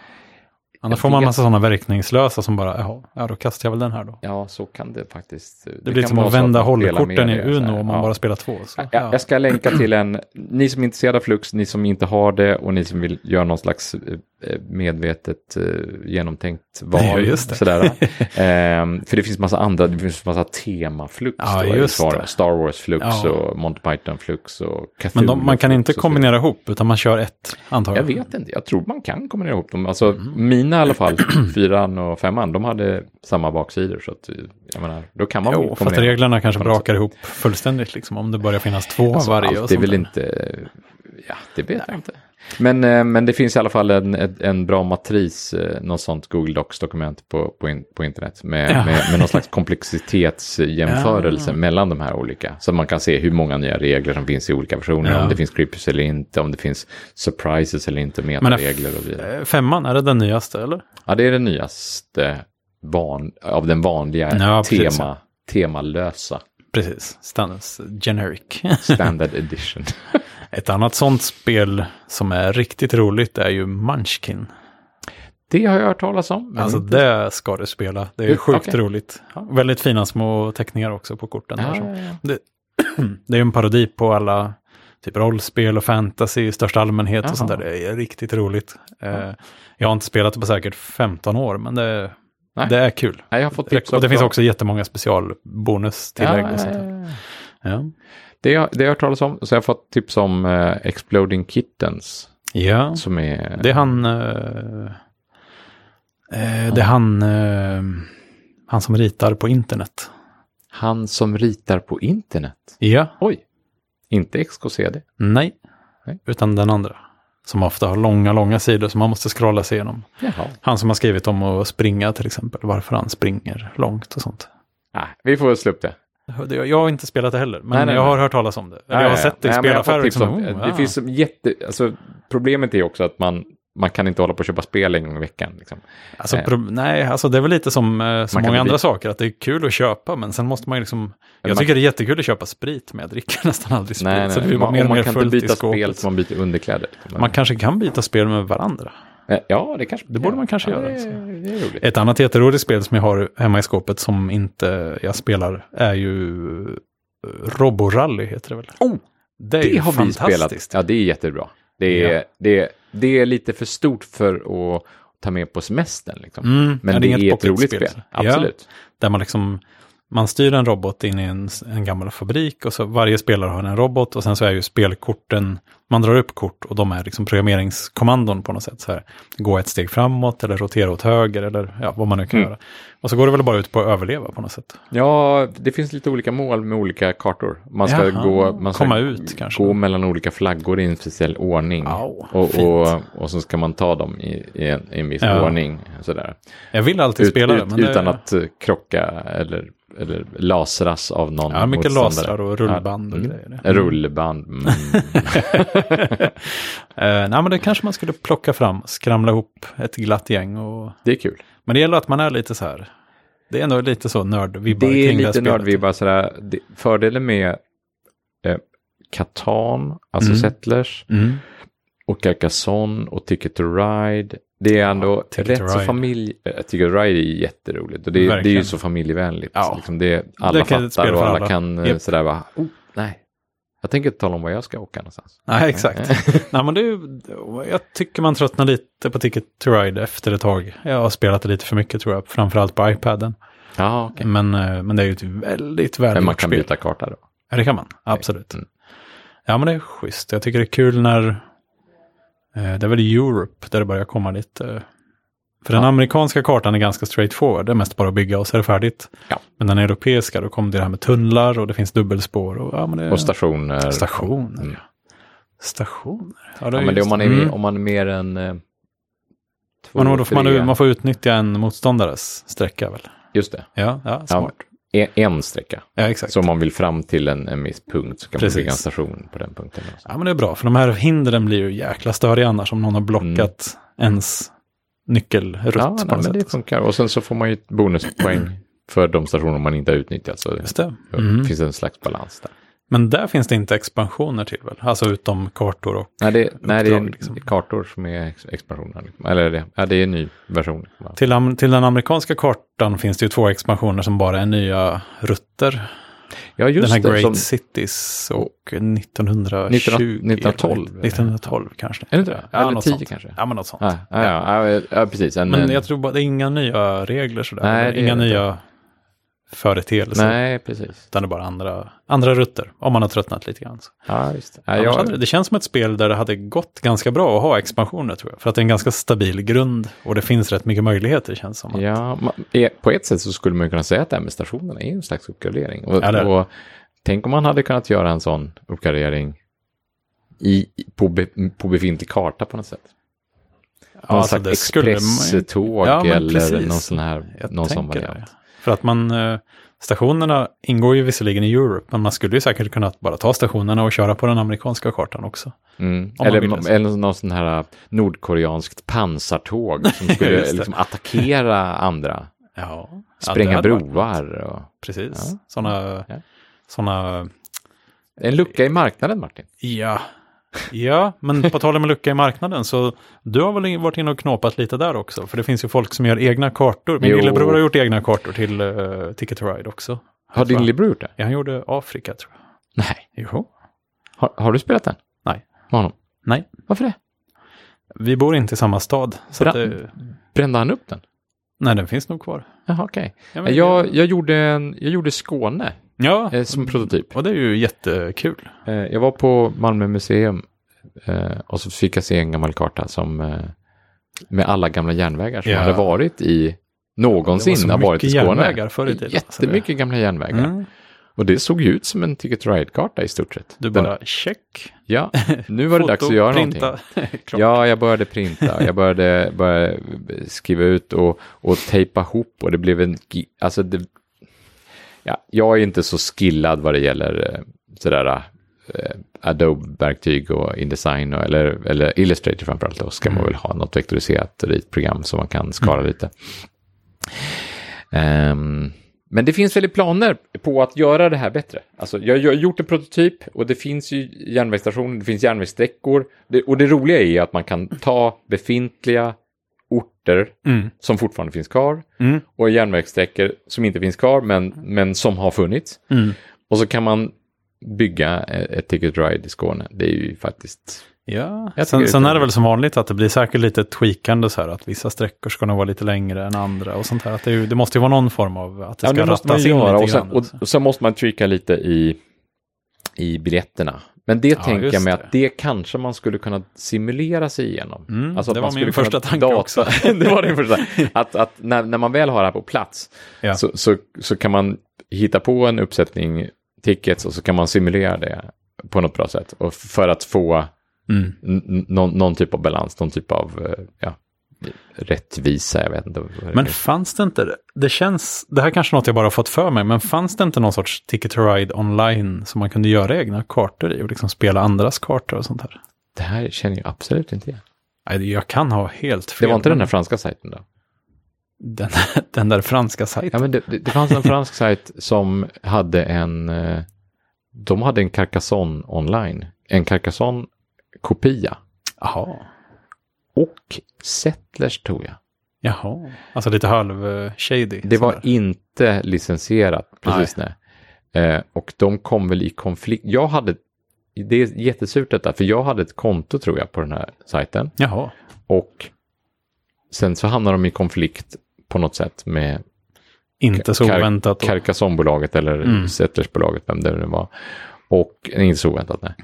Speaker 1: Annars
Speaker 2: Jag
Speaker 1: får man
Speaker 2: vet-
Speaker 1: massa sådana verkningslösa som bara, jaha, ja då kastar jag väl den här då.
Speaker 2: Ja, så kan det faktiskt. Det,
Speaker 1: Det, blir
Speaker 2: kan
Speaker 1: som
Speaker 2: vara
Speaker 1: att
Speaker 2: så
Speaker 1: vända
Speaker 2: man spelar
Speaker 1: hållkorten i
Speaker 2: med det, så här.
Speaker 1: Uno om man
Speaker 2: Ja.
Speaker 1: bara spelar två. Så,
Speaker 2: Ja, Jag ska länka till en, ni som är intresserade av Flux, ni som inte har det och ni som vill göra någon slags eh, medvetet eh, genomtänkt val.
Speaker 1: Ja, just det.
Speaker 2: Sådär. Ehm, för det finns massa andra, det finns massa tema Flux.
Speaker 1: Ja,
Speaker 2: då, i
Speaker 1: just
Speaker 2: Star,
Speaker 1: det.
Speaker 2: Star Wars Flux
Speaker 1: Ja.
Speaker 2: och Monty Python Flux och Cthulhu
Speaker 1: Men de, man kan
Speaker 2: Flux
Speaker 1: inte
Speaker 2: och så
Speaker 1: kombinera ihop, utan man kör ett, antar
Speaker 2: jag
Speaker 1: jag.
Speaker 2: vet inte, jag tror man kan kombinera ihop dem. Alltså
Speaker 1: Mm.
Speaker 2: mina i alla fall, fyran och femman, de hade samma baksidor. Så att, jag menar, då kan man väl
Speaker 1: Jo, för att reglerna kanske brakar ihop fullständigt, liksom, om det börjar finnas två av
Speaker 2: Alltså,
Speaker 1: varje.
Speaker 2: allt
Speaker 1: och
Speaker 2: är
Speaker 1: sånt
Speaker 2: väl
Speaker 1: där.
Speaker 2: inte, ja det vet jag inte. Men, eh, men det finns i alla fall en, en, en bra matris, eh, något sånt Google Docs-dokument på, på, in, på internet med,
Speaker 1: Ja.
Speaker 2: med, med någon slags komplexitetsjämförelse mellan de här olika. Så man kan se hur många nya regler som finns i olika versioner,
Speaker 1: Ja.
Speaker 2: om det finns creepers eller inte, om det finns surprises eller inte, metaregler och så vidare.
Speaker 1: Eh, Femman, är det den nyaste, eller?
Speaker 2: Ja, det är den nyaste van, av den vanliga
Speaker 1: Ja, precis.
Speaker 2: tema, temalösa
Speaker 1: Precis, Standards Generic.
Speaker 2: standard edition.
Speaker 1: ett annat sånt spel som är riktigt roligt är ju Munchkin.
Speaker 2: Det har jag hört talas om. men
Speaker 1: Alltså
Speaker 2: inte
Speaker 1: det ska du spela. Det är
Speaker 2: Hur-
Speaker 1: sjukt
Speaker 2: okej. Ah.
Speaker 1: roligt. Väldigt fina små teckningar också på korten. där,
Speaker 2: Ja,
Speaker 1: som-
Speaker 2: ja, ja.
Speaker 1: Det, det är en parodi på alla typ rollspel och fantasy i största allmänhet
Speaker 2: Jaha.
Speaker 1: och sånt där. Det är riktigt roligt. Eh, jag har inte spelat det på säkert 15 år, men det,
Speaker 2: Nej.
Speaker 1: det är kul.
Speaker 2: Nej, jag har fått tips
Speaker 1: Och det
Speaker 2: av-
Speaker 1: finns också jättemånga specialbonustillägg
Speaker 2: Ja,
Speaker 1: och sånt där.
Speaker 2: ja, ja.
Speaker 1: Ja.
Speaker 2: Det har det har jag hört talas om. Så jag har fått tips om eh, Exploding Kittens.
Speaker 1: ja,
Speaker 2: Som är...
Speaker 1: det är han... eh, eh, det är han... eh, han som ritar på internet.
Speaker 2: Han som ritar på internet.
Speaker 1: Ja,
Speaker 2: Oj. Inte XKCD.
Speaker 1: nej.
Speaker 2: Nej.
Speaker 1: Utan den andra. Som ofta har långa, långa sidor som man måste scrolla sig igenom.
Speaker 2: Jaha.
Speaker 1: Han som har skrivit om att springa till exempel, varför han springer långt och sånt.
Speaker 2: Ah, vi får slå upp det.
Speaker 1: Jag, jag har inte spelat det heller, men
Speaker 2: Nej, nej,
Speaker 1: jag har
Speaker 2: nej.
Speaker 1: hört talas om det. Eller jag har
Speaker 2: Nej,
Speaker 1: sett det i
Speaker 2: nej, men jag har fått
Speaker 1: spelaffärer.
Speaker 2: tips
Speaker 1: Liksom,
Speaker 2: om-
Speaker 1: oh,
Speaker 2: det
Speaker 1: ah.
Speaker 2: finns som jätte... Alltså, problemet är också att man, man kan inte hålla på och köpa spel en gång i veckan. Liksom.
Speaker 1: alltså, pro, nej, alltså det är väl lite som eh, så
Speaker 2: Man kan
Speaker 1: många
Speaker 2: bli-
Speaker 1: andra saker, att det är kul att köpa, men sen måste man ju liksom... Jag
Speaker 2: man-
Speaker 1: tycker det är jättekul att köpa sprit, men jag dricker nästan aldrig sprit.
Speaker 2: Nej, nej,
Speaker 1: så det blir bara
Speaker 2: man,
Speaker 1: mer
Speaker 2: och
Speaker 1: och
Speaker 2: man
Speaker 1: mer
Speaker 2: kan inte
Speaker 1: fullt i
Speaker 2: byta spel
Speaker 1: skåpet.
Speaker 2: som man byter underkläder. liksom.
Speaker 1: Man kanske kan byta spel med varandra.
Speaker 2: Eh, Ja, det kanske
Speaker 1: Det borde
Speaker 2: ja,
Speaker 1: man kanske
Speaker 2: ja,
Speaker 1: göra,
Speaker 2: Det,
Speaker 1: alltså.
Speaker 2: det är roligt.
Speaker 1: Ett annat jätteroligt spel som jag har hemma i skåpet som inte jag spelar är ju eh, Roborally heter det väl?
Speaker 2: Oh,
Speaker 1: det är
Speaker 2: Det
Speaker 1: ju
Speaker 2: har vi spelat.
Speaker 1: fantastiskt.
Speaker 2: Ja, det är jättebra. Det är,
Speaker 1: Ja.
Speaker 2: det, är- det är lite för stort för att ta med på semestern. Liksom.
Speaker 1: Mm,
Speaker 2: Men
Speaker 1: ja,
Speaker 2: det,
Speaker 1: inget
Speaker 2: är ett
Speaker 1: pocketspel.
Speaker 2: roligt spel.
Speaker 1: Ja,
Speaker 2: Absolut.
Speaker 1: där man liksom, man styr en robot in i en, en gammal fabrik och så varje spelare har en robot och sen så är ju spelkorten, man drar upp kort och de är liksom programmeringskommandon på något sätt. Så här, gå ett steg framåt eller rotera åt höger eller ja, vad man nu kan
Speaker 2: Mm.
Speaker 1: göra. Och så går det väl bara ut på att överleva på något sätt.
Speaker 2: Ja. det finns lite olika mål med olika kartor. Man ska,
Speaker 1: Jaha,
Speaker 2: gå, man ska
Speaker 1: komma ut kanske.
Speaker 2: gå mellan olika flaggor i en speciell ordning.
Speaker 1: Au,
Speaker 2: och,
Speaker 1: fint.
Speaker 2: och, och så ska man ta dem i, i, en, i en viss
Speaker 1: Ja.
Speaker 2: ordning. Sådär.
Speaker 1: Jag vill alltid
Speaker 2: Ut,
Speaker 1: spela det,
Speaker 2: ut,
Speaker 1: men det,
Speaker 2: utan att eh, krocka eller, eller lasras av någon
Speaker 1: Ja, mycket
Speaker 2: motståndare.
Speaker 1: lasrar och rullband och grejer.
Speaker 2: Ja, rullband. Mm.
Speaker 1: Eh, nej, men det kanske man skulle plocka fram, skramla ihop ett glatt gäng. Och...
Speaker 2: det är kul.
Speaker 1: Men det gäller att man är lite så här, det är ändå lite så nördvibbar
Speaker 2: Det är
Speaker 1: kring det här
Speaker 2: lite
Speaker 1: spelet.
Speaker 2: nördvibbar sådär. Det- Fördelen med eh, Catan, alltså
Speaker 1: Mm.
Speaker 2: Settlers,
Speaker 1: Mm.
Speaker 2: och Carcassonne och Ticket to Ride. Det är ändå
Speaker 1: Ticket to
Speaker 2: rätt så
Speaker 1: Ride.
Speaker 2: familj... eh, Ticket to Ride är jätteroligt. Och det, är- det är ju
Speaker 1: Verkligen.
Speaker 2: så familjevänligt.
Speaker 1: Ja.
Speaker 2: Liksom det, är- alla
Speaker 1: Det kan ett
Speaker 2: fattar
Speaker 1: spel
Speaker 2: och
Speaker 1: för
Speaker 2: alla,
Speaker 1: alla.
Speaker 2: kan eh,
Speaker 1: Japp.
Speaker 2: sådär bara, oh, nej. Jag tänker inte tala om var jag ska åka någonstans.
Speaker 1: Nej, exakt. Nej, men det är, ju- jag tycker man tröttnar lite på Ticket to Ride efter ett tag. Jag har spelat det lite för mycket tror jag, framförallt på iPaden.
Speaker 2: Ja, okej.
Speaker 1: Men, eh, men det är ju ett väldigt välgjort
Speaker 2: Men man kan
Speaker 1: spel.
Speaker 2: byta karta då.
Speaker 1: Ja, det kan man. Absolut.
Speaker 2: Mm.
Speaker 1: Ja, men det är schysst. Jag tycker det är kul när... eh, Det är väl Europe där det börjar komma lite... eh, För den
Speaker 2: Ja.
Speaker 1: amerikanska kartan är ganska straightforward. Det är mest bara att bygga och så är det färdigt.
Speaker 2: Ja.
Speaker 1: Men den europeiska, då kommer det här med tunnlar och det finns dubbelspår. Och, ja, men det,
Speaker 2: Och stationer.
Speaker 1: stationer.
Speaker 2: Mm.
Speaker 1: Stationer. Ja, det
Speaker 2: Ja,
Speaker 1: är
Speaker 2: men det är om
Speaker 1: just-
Speaker 2: man är,
Speaker 1: Mm.
Speaker 2: om man är mer än... Eh, två,
Speaker 1: Men då får man,
Speaker 2: tre-
Speaker 1: man får utnyttja en motståndares sträcka väl?
Speaker 2: Just det.
Speaker 1: Ja, ja smart.
Speaker 2: Ja, en, en sträcka.
Speaker 1: Ja, exakt.
Speaker 2: Så om man vill fram till en, en viss punkt så kan
Speaker 1: Precis.
Speaker 2: man bygga en station på den punkten. Också.
Speaker 1: Ja, men det är bra, för de här hindren blir ju jäkla störiga annars om någon har blockat ens nyckelrutt
Speaker 2: Mm. Ja,
Speaker 1: på
Speaker 2: nej,
Speaker 1: något
Speaker 2: men
Speaker 1: sätt.
Speaker 2: det funkar. Och sen så får man ju ett bonuspoäng för de stationer man inte har utnyttjat. Så det
Speaker 1: Just det.
Speaker 2: så
Speaker 1: Mm.
Speaker 2: finns en slags balans där.
Speaker 1: Men där finns det inte expansioner till väl? Alltså utom kartor och...
Speaker 2: Nej, det, nej, det är
Speaker 1: Uppdrag, liksom.
Speaker 2: kartor som är ex- expansionen. Liksom. Eller det, ja, det är en ny version.
Speaker 1: Till, am- till den amerikanska kartan finns det ju två expansioner som bara är nya rutter.
Speaker 2: Ja, just
Speaker 1: den här Great
Speaker 2: det. som,
Speaker 1: Cities och 1920.
Speaker 2: 1912.
Speaker 1: 1912 kanske.
Speaker 2: är det inte det?
Speaker 1: Ja,
Speaker 2: Eller
Speaker 1: något
Speaker 2: 10
Speaker 1: sånt.
Speaker 2: kanske?
Speaker 1: Ja, men något sånt.
Speaker 2: Ja, ja, ja, ja, ja precis. En,
Speaker 1: Men
Speaker 2: en-
Speaker 1: jag tror bara det är inga nya regler sådär.
Speaker 2: Nej,
Speaker 1: eller
Speaker 2: det är
Speaker 1: inga
Speaker 2: det inte.
Speaker 1: nya företeelser.
Speaker 2: Nej, precis.
Speaker 1: Utan det är bara andra, andra rutter. Om man har tröttnat lite grann. Så.
Speaker 2: Ja, visst. Ja,
Speaker 1: Annars
Speaker 2: jag,
Speaker 1: hade det, det känns som ett spel där det hade gått ganska bra att ha expansioner tror jag. För att det är en ganska stabil grund och det finns rätt mycket möjligheter känns som.
Speaker 2: Ja, man, eh, på ett sätt så skulle man ju kunna säga att det här med stationerna är en slags uppgradering. Och,
Speaker 1: Ja, det är det.
Speaker 2: och tänk om man hade kunnat göra en sån uppgradering i, i- på, be, på befintlig karta på något sätt.
Speaker 1: Ja,
Speaker 2: Någon
Speaker 1: alltså,
Speaker 2: slags
Speaker 1: det skulle man ju-
Speaker 2: expresståg
Speaker 1: Ja, men
Speaker 2: eller
Speaker 1: precis.
Speaker 2: någon sån här
Speaker 1: Jag
Speaker 2: någon sån
Speaker 1: tänker
Speaker 2: variant.
Speaker 1: det. För att man, eh, stationerna ingår ju visserligen i Europe, men man skulle ju säkert kunna bara ta stationerna och köra på den amerikanska kartan också.
Speaker 2: Mm.
Speaker 1: man
Speaker 2: Eller,
Speaker 1: vill
Speaker 2: ma-
Speaker 1: det.
Speaker 2: eller någon sån här nordkoreanskt pansartåg som skulle
Speaker 1: Just det.
Speaker 2: liksom attackera andra.
Speaker 1: Ja, ja, det
Speaker 2: Spränga
Speaker 1: hade varit-
Speaker 2: broar. Och...
Speaker 1: Precis,
Speaker 2: Ja.
Speaker 1: sådana,
Speaker 2: Ja.
Speaker 1: sådana,
Speaker 2: En lucka i marknaden, Martin.
Speaker 1: ja. Ja, men på tal om en lucka i marknaden så du har väl in- varit inne och knåpat lite där också? För det finns ju folk som gör egna kartor. Min
Speaker 2: Jo.
Speaker 1: lillebror har gjort egna kartor till eh, Ticket to Ride också.
Speaker 2: Har
Speaker 1: tror jag.
Speaker 2: din lillebror gjort det?
Speaker 1: Ja, han gjorde Afrika tror jag.
Speaker 2: Nej.
Speaker 1: Jo.
Speaker 2: Har, har du spelat den?
Speaker 1: Nej.
Speaker 2: Med honom?
Speaker 1: Nej.
Speaker 2: Varför det?
Speaker 1: Vi bor inte i samma stad. Så
Speaker 2: Bra.
Speaker 1: att det,
Speaker 2: Brände han upp den?
Speaker 1: nej, den finns nog kvar.
Speaker 2: Jaha, okej.
Speaker 1: Ja, men-
Speaker 2: Jag, jag, gjorde, en- jag gjorde Skåne
Speaker 1: Ja,
Speaker 2: eh, som prototyp.
Speaker 1: och det är ju jättekul.
Speaker 2: Eh, jag var på Malmö museum eh, och så fick jag se en gammal karta som eh, med alla gamla järnvägar som
Speaker 1: Ja.
Speaker 2: hade varit i
Speaker 1: Det var
Speaker 2: någonsin
Speaker 1: så
Speaker 2: har varit i
Speaker 1: mycket
Speaker 2: Skåne.
Speaker 1: järnvägar förr i tiden, alltså det-
Speaker 2: Jättemycket gamla järnvägar.
Speaker 1: Mm.
Speaker 2: Och det såg ju ut som en Ticket to Ride-karta i stort sett.
Speaker 1: Du
Speaker 2: Den-
Speaker 1: bara check.
Speaker 2: ja, nu var det dags att göra någonting.
Speaker 1: någonting. ja.
Speaker 2: Ja, jag började printa, jag började, började skriva ut och, och tejpa ihop och det blev en... gi- Alltså det, ja, jag är inte så skillad vad det gäller eh, sådär eh, Adobe-verktyg och Indesign och, eller, eller Illustrator framförallt. Då ska man väl ha något vektoriserat ritprogram som man kan skala lite. Ehm, men det finns väl i planer på att göra det här bättre. Alltså, jag jag har gjort en prototyp och det finns ju järnvägsstationer, det finns järnvägssträckor. Det, och det roliga är att man kan ta befintliga orter
Speaker 1: Mm.
Speaker 2: som fortfarande finns kvar
Speaker 1: Mm.
Speaker 2: och järnvägssträckor som inte finns kvar men, men som har funnits.
Speaker 1: Mm.
Speaker 2: Och så kan man bygga ett ett Ticket Ride i Skåne. Det är ju faktiskt...
Speaker 1: ja.
Speaker 2: Jag
Speaker 1: Sen,
Speaker 2: tycker
Speaker 1: sen
Speaker 2: det är
Speaker 1: är det väl som vanligt att det blir säkert lite tweakande så här att vissa sträckor ska nog vara lite längre än andra och sånt här. Att det, är ju, det måste ju vara någon form av att det ska rattas in lite
Speaker 2: och sen,
Speaker 1: grann. alltså.
Speaker 2: och, och sen måste man tweaka lite i, i biljetterna. Men det tänker
Speaker 1: just
Speaker 2: jag mig
Speaker 1: det.
Speaker 2: att det kanske man skulle kunna simulera sig igenom. Alltså
Speaker 1: Mm,
Speaker 2: att
Speaker 1: det
Speaker 2: man
Speaker 1: var min
Speaker 2: skulle
Speaker 1: första
Speaker 2: kunna
Speaker 1: tanke också.
Speaker 2: det var din första. Att, att när, när man väl har det här på plats
Speaker 1: Ja.
Speaker 2: så, så, så kan man hitta på en uppsättning tickets och så kan man simulera det på något bra sätt. Och för att få
Speaker 1: Mm.
Speaker 2: n- n- någon, någon typ av balans, någon typ av eh, ja, rättvisa, jag vet inte. vad det
Speaker 1: Men
Speaker 2: är.
Speaker 1: fanns det inte, det känns, det här kanske är något jag bara har fått för mig, men fanns det inte någon sorts Ticket to Ride online som man kunde göra egna kartor i och liksom spela andras kartor och sånt här?
Speaker 2: det här känner jag absolut inte igen.
Speaker 1: Nej, jag kan ha helt fel.
Speaker 2: Det var inte den
Speaker 1: men
Speaker 2: här franska sajten då?
Speaker 1: den, den där franska
Speaker 2: Ja,
Speaker 1: sajten.
Speaker 2: men det, det, det fanns en fransk sajt som hade en, eh, de hade en Carcassonne online, en Carcassonne-kopia
Speaker 1: Jaha.
Speaker 2: och Settlers tror jag.
Speaker 1: Jaha, alltså lite halv-shady.
Speaker 2: Det var inte licensierat, precis nej. Eh, och de kom väl i konflikt. Jag hade, det är jättesurt detta, för jag hade ett konto tror jag på den här sajten.
Speaker 1: Jaha,
Speaker 2: Och sen så hamnade de i konflikt på något sätt med
Speaker 1: inte så
Speaker 2: Kar-
Speaker 1: oväntat. och-
Speaker 2: Carcassonne-bolaget eller
Speaker 1: Mm.
Speaker 2: Settlers-bolaget, vem det nu var. Och, nej, inte så oväntat, nej.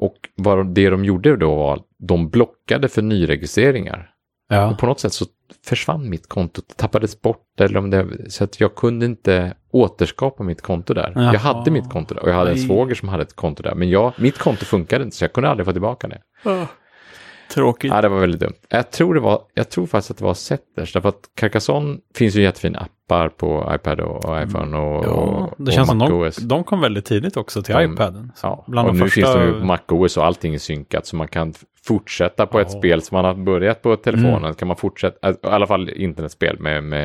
Speaker 2: Och vad de- det de gjorde då var, de blockade för nyregistreringar.
Speaker 1: ja.
Speaker 2: Och på något sätt så försvann mitt konto, det tappades bort eller om det, så att jag kunde inte återskapa mitt konto där.
Speaker 1: Jaha.
Speaker 2: Jag hade mitt konto där och jag hade en
Speaker 1: Nej.
Speaker 2: svåger som hade ett konto där. Men jag, mitt konto funkade inte så jag kunde aldrig få tillbaka det.
Speaker 1: Tråkigt.
Speaker 2: Ja, det var väldigt dumt. Jag tror, det var, jag tror faktiskt att det var Setters, därför att Carcassonne finns ju en jättefin app appar på iPad och iPhone och,
Speaker 1: Mm. Ja,
Speaker 2: och,
Speaker 1: det känns
Speaker 2: och
Speaker 1: som de,
Speaker 2: MacOS.
Speaker 1: de kom väldigt tidigt också till
Speaker 2: De-
Speaker 1: iPaden. Så
Speaker 2: Ja,
Speaker 1: bland
Speaker 2: och
Speaker 1: de
Speaker 2: nu
Speaker 1: första-
Speaker 2: finns de ju på MacOS och allting är synkat så man kan f- fortsätta på ett
Speaker 1: Ja. Mm.
Speaker 2: spel som man har börjat på telefonen. Kan man fortsätta, alltså, i alla fall internetspel med, med,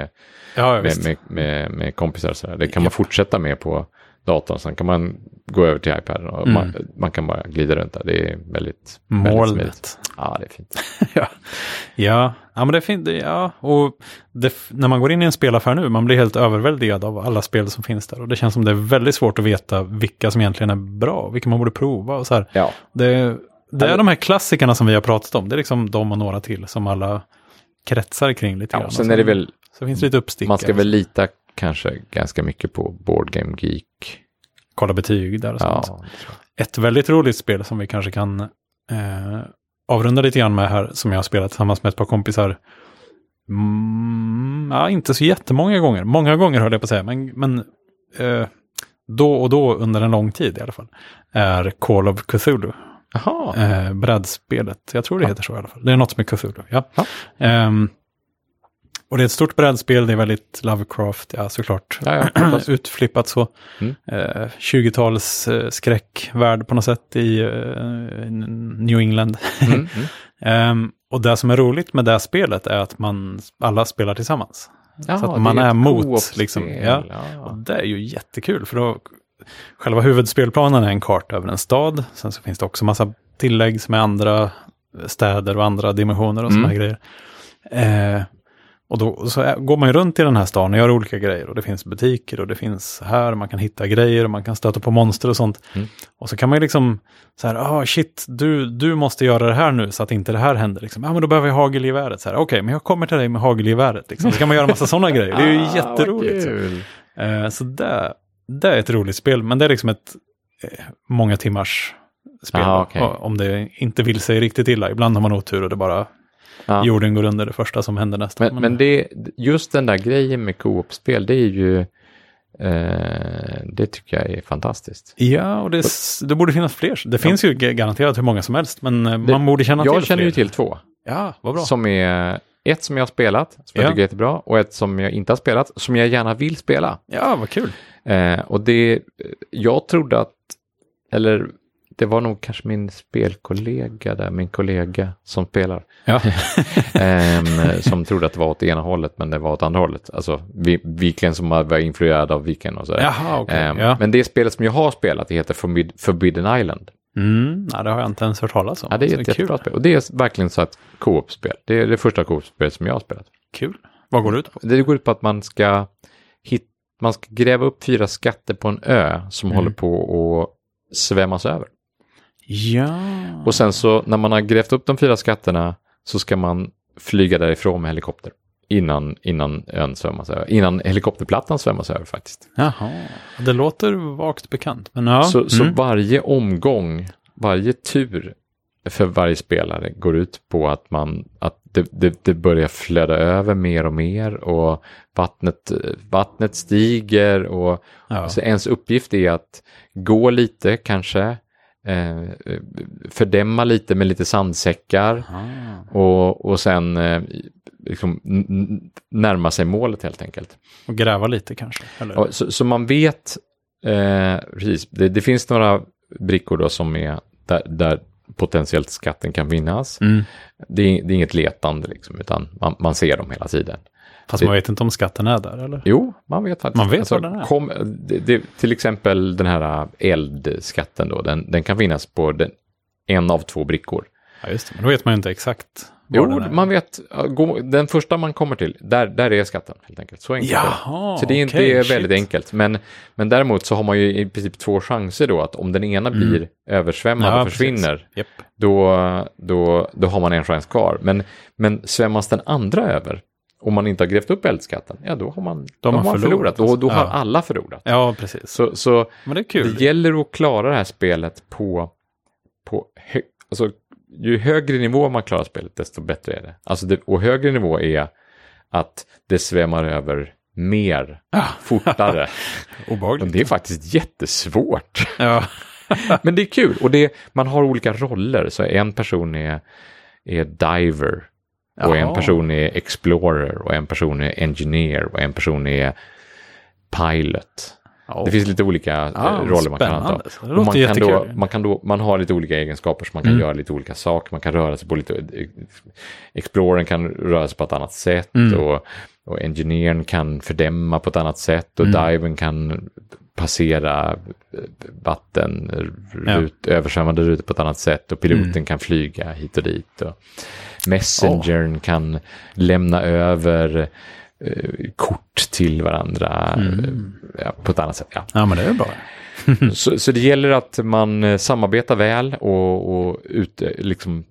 Speaker 1: Ja, ja,
Speaker 2: med,
Speaker 1: visst.
Speaker 2: med, med, med kompisar. och sådär. Det kan man fortsätta med på datorn. Sen kan man gå över till iPaden och
Speaker 1: Mm.
Speaker 2: man, man kan bara glida runt där. Det är väldigt, väldigt smidigt.
Speaker 1: Molnet.
Speaker 2: Ja, det är fint.
Speaker 1: ja. ja, ja, men det är fint. Det- Ja. Och det, f- när man går in i en spelaffär nu, man blir helt överväldigad av alla spel som finns där. Och det känns som det är väldigt svårt att veta vilka som egentligen är bra, vilka man borde prova och så här.
Speaker 2: Ja,
Speaker 1: Det, det är de här klassikerna som vi har pratat om. Det är liksom de och några till som alla kretsar kring lite
Speaker 2: ja
Speaker 1: grann.
Speaker 2: och sen är det väl,
Speaker 1: Så finns det lite uppstickare.
Speaker 2: man ska väl
Speaker 1: liksom.
Speaker 2: lita kanske ganska mycket på Board Game Geek.
Speaker 1: kolla betyg där och sånt.
Speaker 2: Ja, det tror jag.
Speaker 1: Ett väldigt roligt spel som vi kanske kan eh, avrunda lite grann med här, som jag har spelat tillsammans med ett par kompisar. Mm, ja, inte så jättemånga gånger. Många gånger höll jag på att säga, men, men eh, då och då under en lång tid i alla fall. Är Call of Cthulhu,
Speaker 2: Jaha,
Speaker 1: eh, brädspelet. Jag tror det heter så i alla fall. Det är något med Cthulhu, ja.
Speaker 2: Ja.
Speaker 1: Ehm, och det är ett stort brädspel, det är väldigt Lovecraft, ja såklart.
Speaker 2: Ja, ja, förstås.
Speaker 1: Utflippat så.
Speaker 2: Mm.
Speaker 1: Eh, 20-tals eh, skräckvärld på något sätt i eh, n- New England.
Speaker 2: mm, mm.
Speaker 1: Ehm, och det som är roligt med det här spelet är att man alla spelar tillsammans.
Speaker 2: Ja,
Speaker 1: att
Speaker 2: det
Speaker 1: man
Speaker 2: ett
Speaker 1: är mot,
Speaker 2: co-op-spel.
Speaker 1: liksom.
Speaker 2: Ja.
Speaker 1: Ja. Och det är ju jättekul, för då, själva huvudspelplanen är en karta över en stad. Sen så finns det också massa tillägg som är andra städer och andra dimensioner och sådana
Speaker 2: Mm.
Speaker 1: här grejer. Eh, och då och så är, går man ju runt i den här stan och gör olika grejer. Och det finns butiker och det finns här, man kan hitta grejer och man kan stöta på monster och sånt.
Speaker 2: Mm.
Speaker 1: Och så kan man ju liksom så här, ah shit, du, du måste göra det här nu så att inte det här händer. Liksom. Ah, men då behöver jag hagelgeväret. Så här, Okej, men jag kommer till dig med hagelgeväret. Liksom. Så kan man göra massa sådana grejer. Det är ju
Speaker 2: Ah, vad
Speaker 1: jätteroligt.
Speaker 2: kul.
Speaker 1: Eh, Så det, det är ett roligt spel, men det är liksom ett eh, många timmars spel.
Speaker 2: Ah, okej.
Speaker 1: Och Om det inte vill sig riktigt illa. Ibland har man otur och det bara
Speaker 2: Ja.
Speaker 1: jorden går under det första som händer nästan.
Speaker 2: Men, men det, just den där grejen med co-op-spel, det är ju, eh, det tycker jag är fantastiskt.
Speaker 1: Ja, och det, s- det borde finnas fler. Det finns ju ga- garanterat hur många som helst, men eh, man borde känna till
Speaker 2: Jag känner
Speaker 1: fler.
Speaker 2: ju till två,
Speaker 1: Ja, vad bra.
Speaker 2: som är ett som jag har spelat, som
Speaker 1: Ja.
Speaker 2: jag tycker är jättebra, och ett som jag inte har spelat, som jag gärna vill spela.
Speaker 1: Ja, vad kul.
Speaker 2: Eh, och det, eh, jag trodde att, eller det var nog kanske min spelkollega där, min kollega som spelar,
Speaker 1: Ja,
Speaker 2: Ehm, som trodde att det var åt ena hållet men det var åt andra hållet. Alltså vi- Viken som var influerad av Viken och sådär.
Speaker 1: Jaha, okej.
Speaker 2: Ehm,
Speaker 1: ja.
Speaker 2: Men det spelet som jag har spelat det heter Forbid- Forbidden Island.
Speaker 1: Mm, nej, det har jag inte ens hört talas om.
Speaker 2: Ja, det
Speaker 1: Så
Speaker 2: är ett
Speaker 1: kul.
Speaker 2: jättebra spel. Och det är verkligen så att co-op-spel. Det är det första co-op-spelet som jag har spelat.
Speaker 1: Kul. Vad går det ut på?
Speaker 2: Det går ut på att man ska, hit, man ska gräva upp fyra skatter på en ö
Speaker 1: Mm.
Speaker 2: som håller på att svämmas över.
Speaker 1: Ja.
Speaker 2: Och sen så när man har grävt upp de fyra skatterna så ska man flyga därifrån med helikopter. Innan, innan ön svämmas över. Innan helikopterplattan svämmas över faktiskt.
Speaker 1: Jaha. Det låter vagt bekant, men ja.
Speaker 2: Så, så
Speaker 1: mm.
Speaker 2: varje omgång, varje tur för varje spelare går ut på att, man, att det, det, det börjar flöda över mer och mer och vattnet, vattnet stiger och
Speaker 1: ja.
Speaker 2: så ens uppgift är att gå lite kanske, eh, fördämma lite med lite sandsäckar
Speaker 1: Ah.
Speaker 2: och, och sen eh, liksom, n- n- närma sig målet helt enkelt.
Speaker 1: Och gräva lite kanske? Eller?
Speaker 2: Ja, Så, så man vet, eh, precis, det, det finns några brickor då som är där, där potentiellt skatten kan vinnas.
Speaker 1: Mm.
Speaker 2: Det, är, det är inget letande liksom, utan man, man ser dem hela tiden.
Speaker 1: Fast man vet inte om skatten är där eller?
Speaker 2: Jo, man vet faktiskt. Alltså,
Speaker 1: Man vet vad den är.
Speaker 2: kom, det, det, till exempel den här eh, eldskatten då, den, den kan finnas på den, en av två brickor.
Speaker 1: Ja, just det. Men då vet man ju inte exakt. var
Speaker 2: Jo,
Speaker 1: den är.
Speaker 2: man vet, ja, gå- den första man kommer till, där, där är skatten helt enkelt. Så enkelt är det.
Speaker 1: Jaha,
Speaker 2: Så det är, inte,
Speaker 1: okej,
Speaker 2: det är
Speaker 1: shit.
Speaker 2: väldigt enkelt. Men, men däremot så har man ju i princip två chanser då att om den ena blir översvämmad
Speaker 1: Mm. Ja,
Speaker 2: och
Speaker 1: precis.
Speaker 2: försvinner,
Speaker 1: Japp.
Speaker 2: då, då, då har man en chans kvar. Men, men svämmas den andra över, om man inte har grävt upp eldskatten, ja då har man, då har man förlorat. Och då har
Speaker 1: alltså. Ja.
Speaker 2: alla förlorat.
Speaker 1: Ja, precis.
Speaker 2: Så, så
Speaker 1: Men det är kul.
Speaker 2: det gäller att klara det här spelet på, på hö, alltså, ju högre nivå man klarar spelet desto bättre är det. Alltså det. Och högre nivå är att det svämmar över mer, fortare. Men
Speaker 1: Obehagligt.
Speaker 2: det är faktiskt jättesvårt.
Speaker 1: Ja.
Speaker 2: Men det är kul och det, man har olika roller. Så en person är, är diver Och en
Speaker 1: Jaha.
Speaker 2: person är explorer och en person är engineer och en person är pilot.
Speaker 1: Ja.
Speaker 2: Det finns lite olika
Speaker 1: Ja,
Speaker 2: eh, roller man kan
Speaker 1: Ah, spännande.
Speaker 2: anta.
Speaker 1: Det
Speaker 2: Och man,
Speaker 1: låter
Speaker 2: kan då,
Speaker 1: jättekul. Mm.
Speaker 2: man, kan då, man har lite olika egenskaper så man kan göra lite olika saker. Man kan röra sig på lite... Explorern kan röra sig på ett annat sätt
Speaker 1: Mm.
Speaker 2: och, och engineern kan fördämma på ett annat sätt och
Speaker 1: Mm.
Speaker 2: divern kan passera eh, vatten, rut, översvämmade rutor på ett annat sätt och piloten
Speaker 1: Mm.
Speaker 2: kan flyga hit och dit. Och messengern kan lämna över eh, kort till varandra
Speaker 1: Mm.
Speaker 2: eh, ja, på ett annat sätt. Ja.
Speaker 1: Ja, men det är bra.
Speaker 2: Så, så det gäller att man eh, samarbetar väl och, och ut, eh, liksom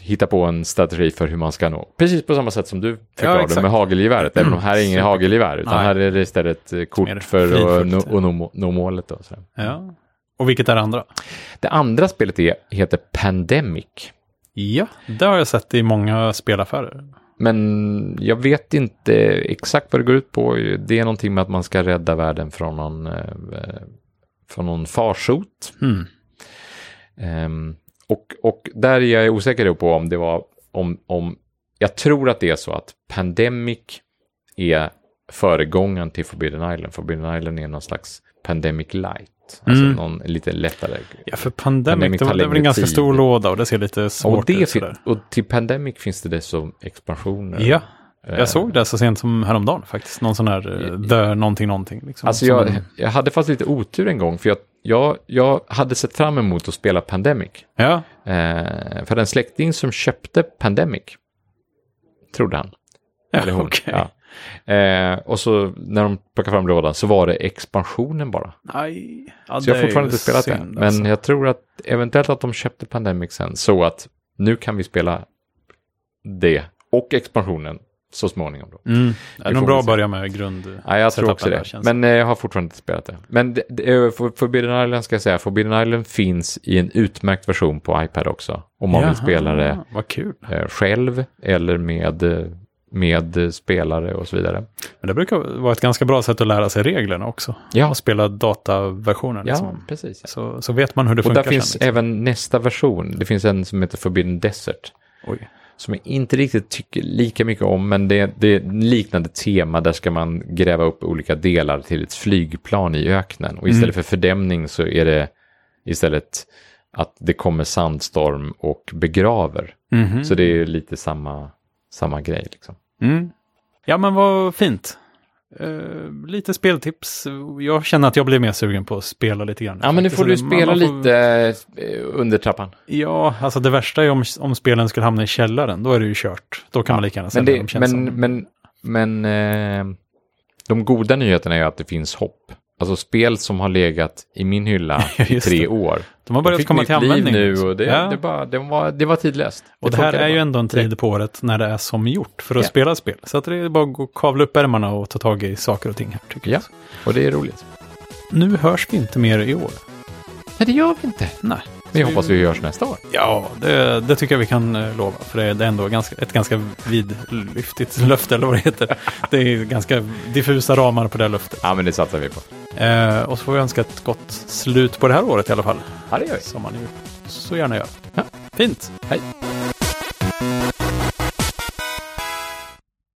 Speaker 2: hitta på en strategi för hur man ska nå. Precis på samma sätt som du förklarade
Speaker 1: exakt. Mm.
Speaker 2: med hagelgeväret, även om här är ingen hagelgevär, utan
Speaker 1: Nej.
Speaker 2: här är det istället eh,
Speaker 1: Mer
Speaker 2: kort för att
Speaker 1: fridfullt,
Speaker 2: nå, att nå, nå målet. Då, så.
Speaker 1: Ja. Och vilket är det andra?
Speaker 2: Det andra spelet är, heter Pandemic,
Speaker 1: Ja, det har jag sett i många spelaffärer.
Speaker 2: men jag vet inte exakt vad det går ut på. Det är någonting med att man ska rädda världen från någon, eh, från någon farsot.
Speaker 1: Mm.
Speaker 2: Ehm, och, och där är jag osäker då på om det var om, om jag tror att det är så att Pandemic är föregångaren till Forbidden Island. Forbidden Island är någon slags Pandemic Light. Alltså
Speaker 1: Mm.
Speaker 2: någon lite lättare.
Speaker 1: Ja, för Pandemic,
Speaker 2: Pandemic
Speaker 1: det, var,
Speaker 2: tar
Speaker 1: det är väl en
Speaker 2: längre
Speaker 1: ganska
Speaker 2: tid.
Speaker 1: stor låda och det ser lite svårt
Speaker 2: Och, det,
Speaker 1: ut.
Speaker 2: fin-
Speaker 1: Sådär.
Speaker 2: och till Pandemic finns det dessutom expansioner.
Speaker 1: Ja,
Speaker 2: Eh,
Speaker 1: jag såg det så sent som häromdagen faktiskt. Någon sån här eh, dö någonting någonting. Liksom.
Speaker 2: Alltså
Speaker 1: Som
Speaker 2: jag,
Speaker 1: en-
Speaker 2: jag hade faktiskt lite otur en gång för jag, jag, jag hade sett fram emot att spela Pandemic.
Speaker 1: Ja,
Speaker 2: Eh, för en släkting som köpte Pandemic, trodde han.
Speaker 1: ja
Speaker 2: Eller
Speaker 1: okej.
Speaker 2: hon. Ja. Eh, och så när de plockade fram lådan så var det expansionen bara.
Speaker 1: Nej, ja,
Speaker 2: Så jag
Speaker 1: det
Speaker 2: har
Speaker 1: är
Speaker 2: fortfarande
Speaker 1: ju
Speaker 2: inte spelat den.
Speaker 1: synd,
Speaker 2: Men
Speaker 1: alltså.
Speaker 2: jag tror att eventuellt att de köpte Pandemic sen så att nu kan vi spela det och expansionen så småningom. Då.
Speaker 1: Mm. Det är
Speaker 2: får
Speaker 1: nog
Speaker 2: vi
Speaker 1: bra att
Speaker 2: se.
Speaker 1: börja med grund...
Speaker 2: Ja, jag tror
Speaker 1: setupen
Speaker 2: också
Speaker 1: där,
Speaker 2: det.
Speaker 1: känns
Speaker 2: Men eh, jag har fortfarande inte spelat det. Men det, det, eh, för- Forbidden Island ska jag säga, Forbidden Island finns i en utmärkt version på iPad också. Om man
Speaker 1: Jaha,
Speaker 2: vill spela det
Speaker 1: Vad kul.
Speaker 2: eh, själv eller med, eh, med eh, spelare och så vidare.
Speaker 1: Men det brukar vara ett ganska bra sätt att lära sig reglerna också.
Speaker 2: Ja.
Speaker 1: Och spela dataversionen.
Speaker 2: Ja,
Speaker 1: Liksom.
Speaker 2: precis.
Speaker 1: Så, så vet man hur det
Speaker 2: Och
Speaker 1: funkar
Speaker 2: där finns
Speaker 1: sen. Liksom.
Speaker 2: även nästa version. Det finns en som heter Forbidden Desert.
Speaker 1: Oj.
Speaker 2: Som jag inte riktigt tycker lika mycket om, men det, det är ett liknande tema. Där ska man gräva upp olika delar till ett flygplan i öknen. Och istället för fördämning så är det istället att det kommer sandstorm och begraver.
Speaker 1: Mhm.
Speaker 2: Så det är lite samma, samma grej. Liksom.
Speaker 1: Mm. Ja, men vad fint. Eh, lite speltips. Jag känner att jag blir mer sugen på att spela lite grann.
Speaker 2: Ja, men nu
Speaker 1: faktiskt.
Speaker 2: får du
Speaker 1: Så det-
Speaker 2: spela
Speaker 1: man får-
Speaker 2: lite eh, under trappan.
Speaker 1: Ja, alltså det värsta är om, om spelen skulle hamna i källaren. Då är det ju kört. Då kan man lika gärna
Speaker 2: Men,
Speaker 1: sälja dem,
Speaker 2: det,
Speaker 1: känns
Speaker 2: men,
Speaker 1: som.
Speaker 2: men, men eh, de goda nyheterna är ju att det finns hopp. Alltså spel som har legat i min hylla i
Speaker 1: Just
Speaker 2: tre
Speaker 1: det.
Speaker 2: år.
Speaker 1: De har
Speaker 2: De
Speaker 1: börjat
Speaker 2: fick
Speaker 1: komma
Speaker 2: komma
Speaker 1: till
Speaker 2: nytt liv
Speaker 1: användning. liksom.
Speaker 2: nu och det,
Speaker 1: ja.
Speaker 2: det, bara, det, var, det var tidlöst.
Speaker 1: och det här
Speaker 2: funkade
Speaker 1: är ju
Speaker 2: bara.
Speaker 1: ändå en tid på året när det är som gjort för att
Speaker 2: Ja.
Speaker 1: spela spel. Så att det är bara att gå- kavla upp ärmarna och ta tag i saker och ting här, tycker
Speaker 2: Ja, och det är roligt.
Speaker 1: jag. Nu hörs vi inte mer i år.
Speaker 2: Nej, det gör vi inte.
Speaker 1: Nej.
Speaker 2: Vi hoppas vi hörs nästa år.
Speaker 1: Ja, det, det tycker jag vi kan eh, lova. För det är det är ändå ganska, ett ganska vidlyftigt löfte, eller vad det heter. Det är ganska diffusa ramar på det här löftet.
Speaker 2: Ja, men det satsar vi på.
Speaker 1: Eh, och så får vi önska ett gott slut på det här året i alla fall.
Speaker 2: Ja, det gör vi.
Speaker 1: Som man ju så gärna gör.
Speaker 2: Ja.
Speaker 1: Fint!
Speaker 2: Hej.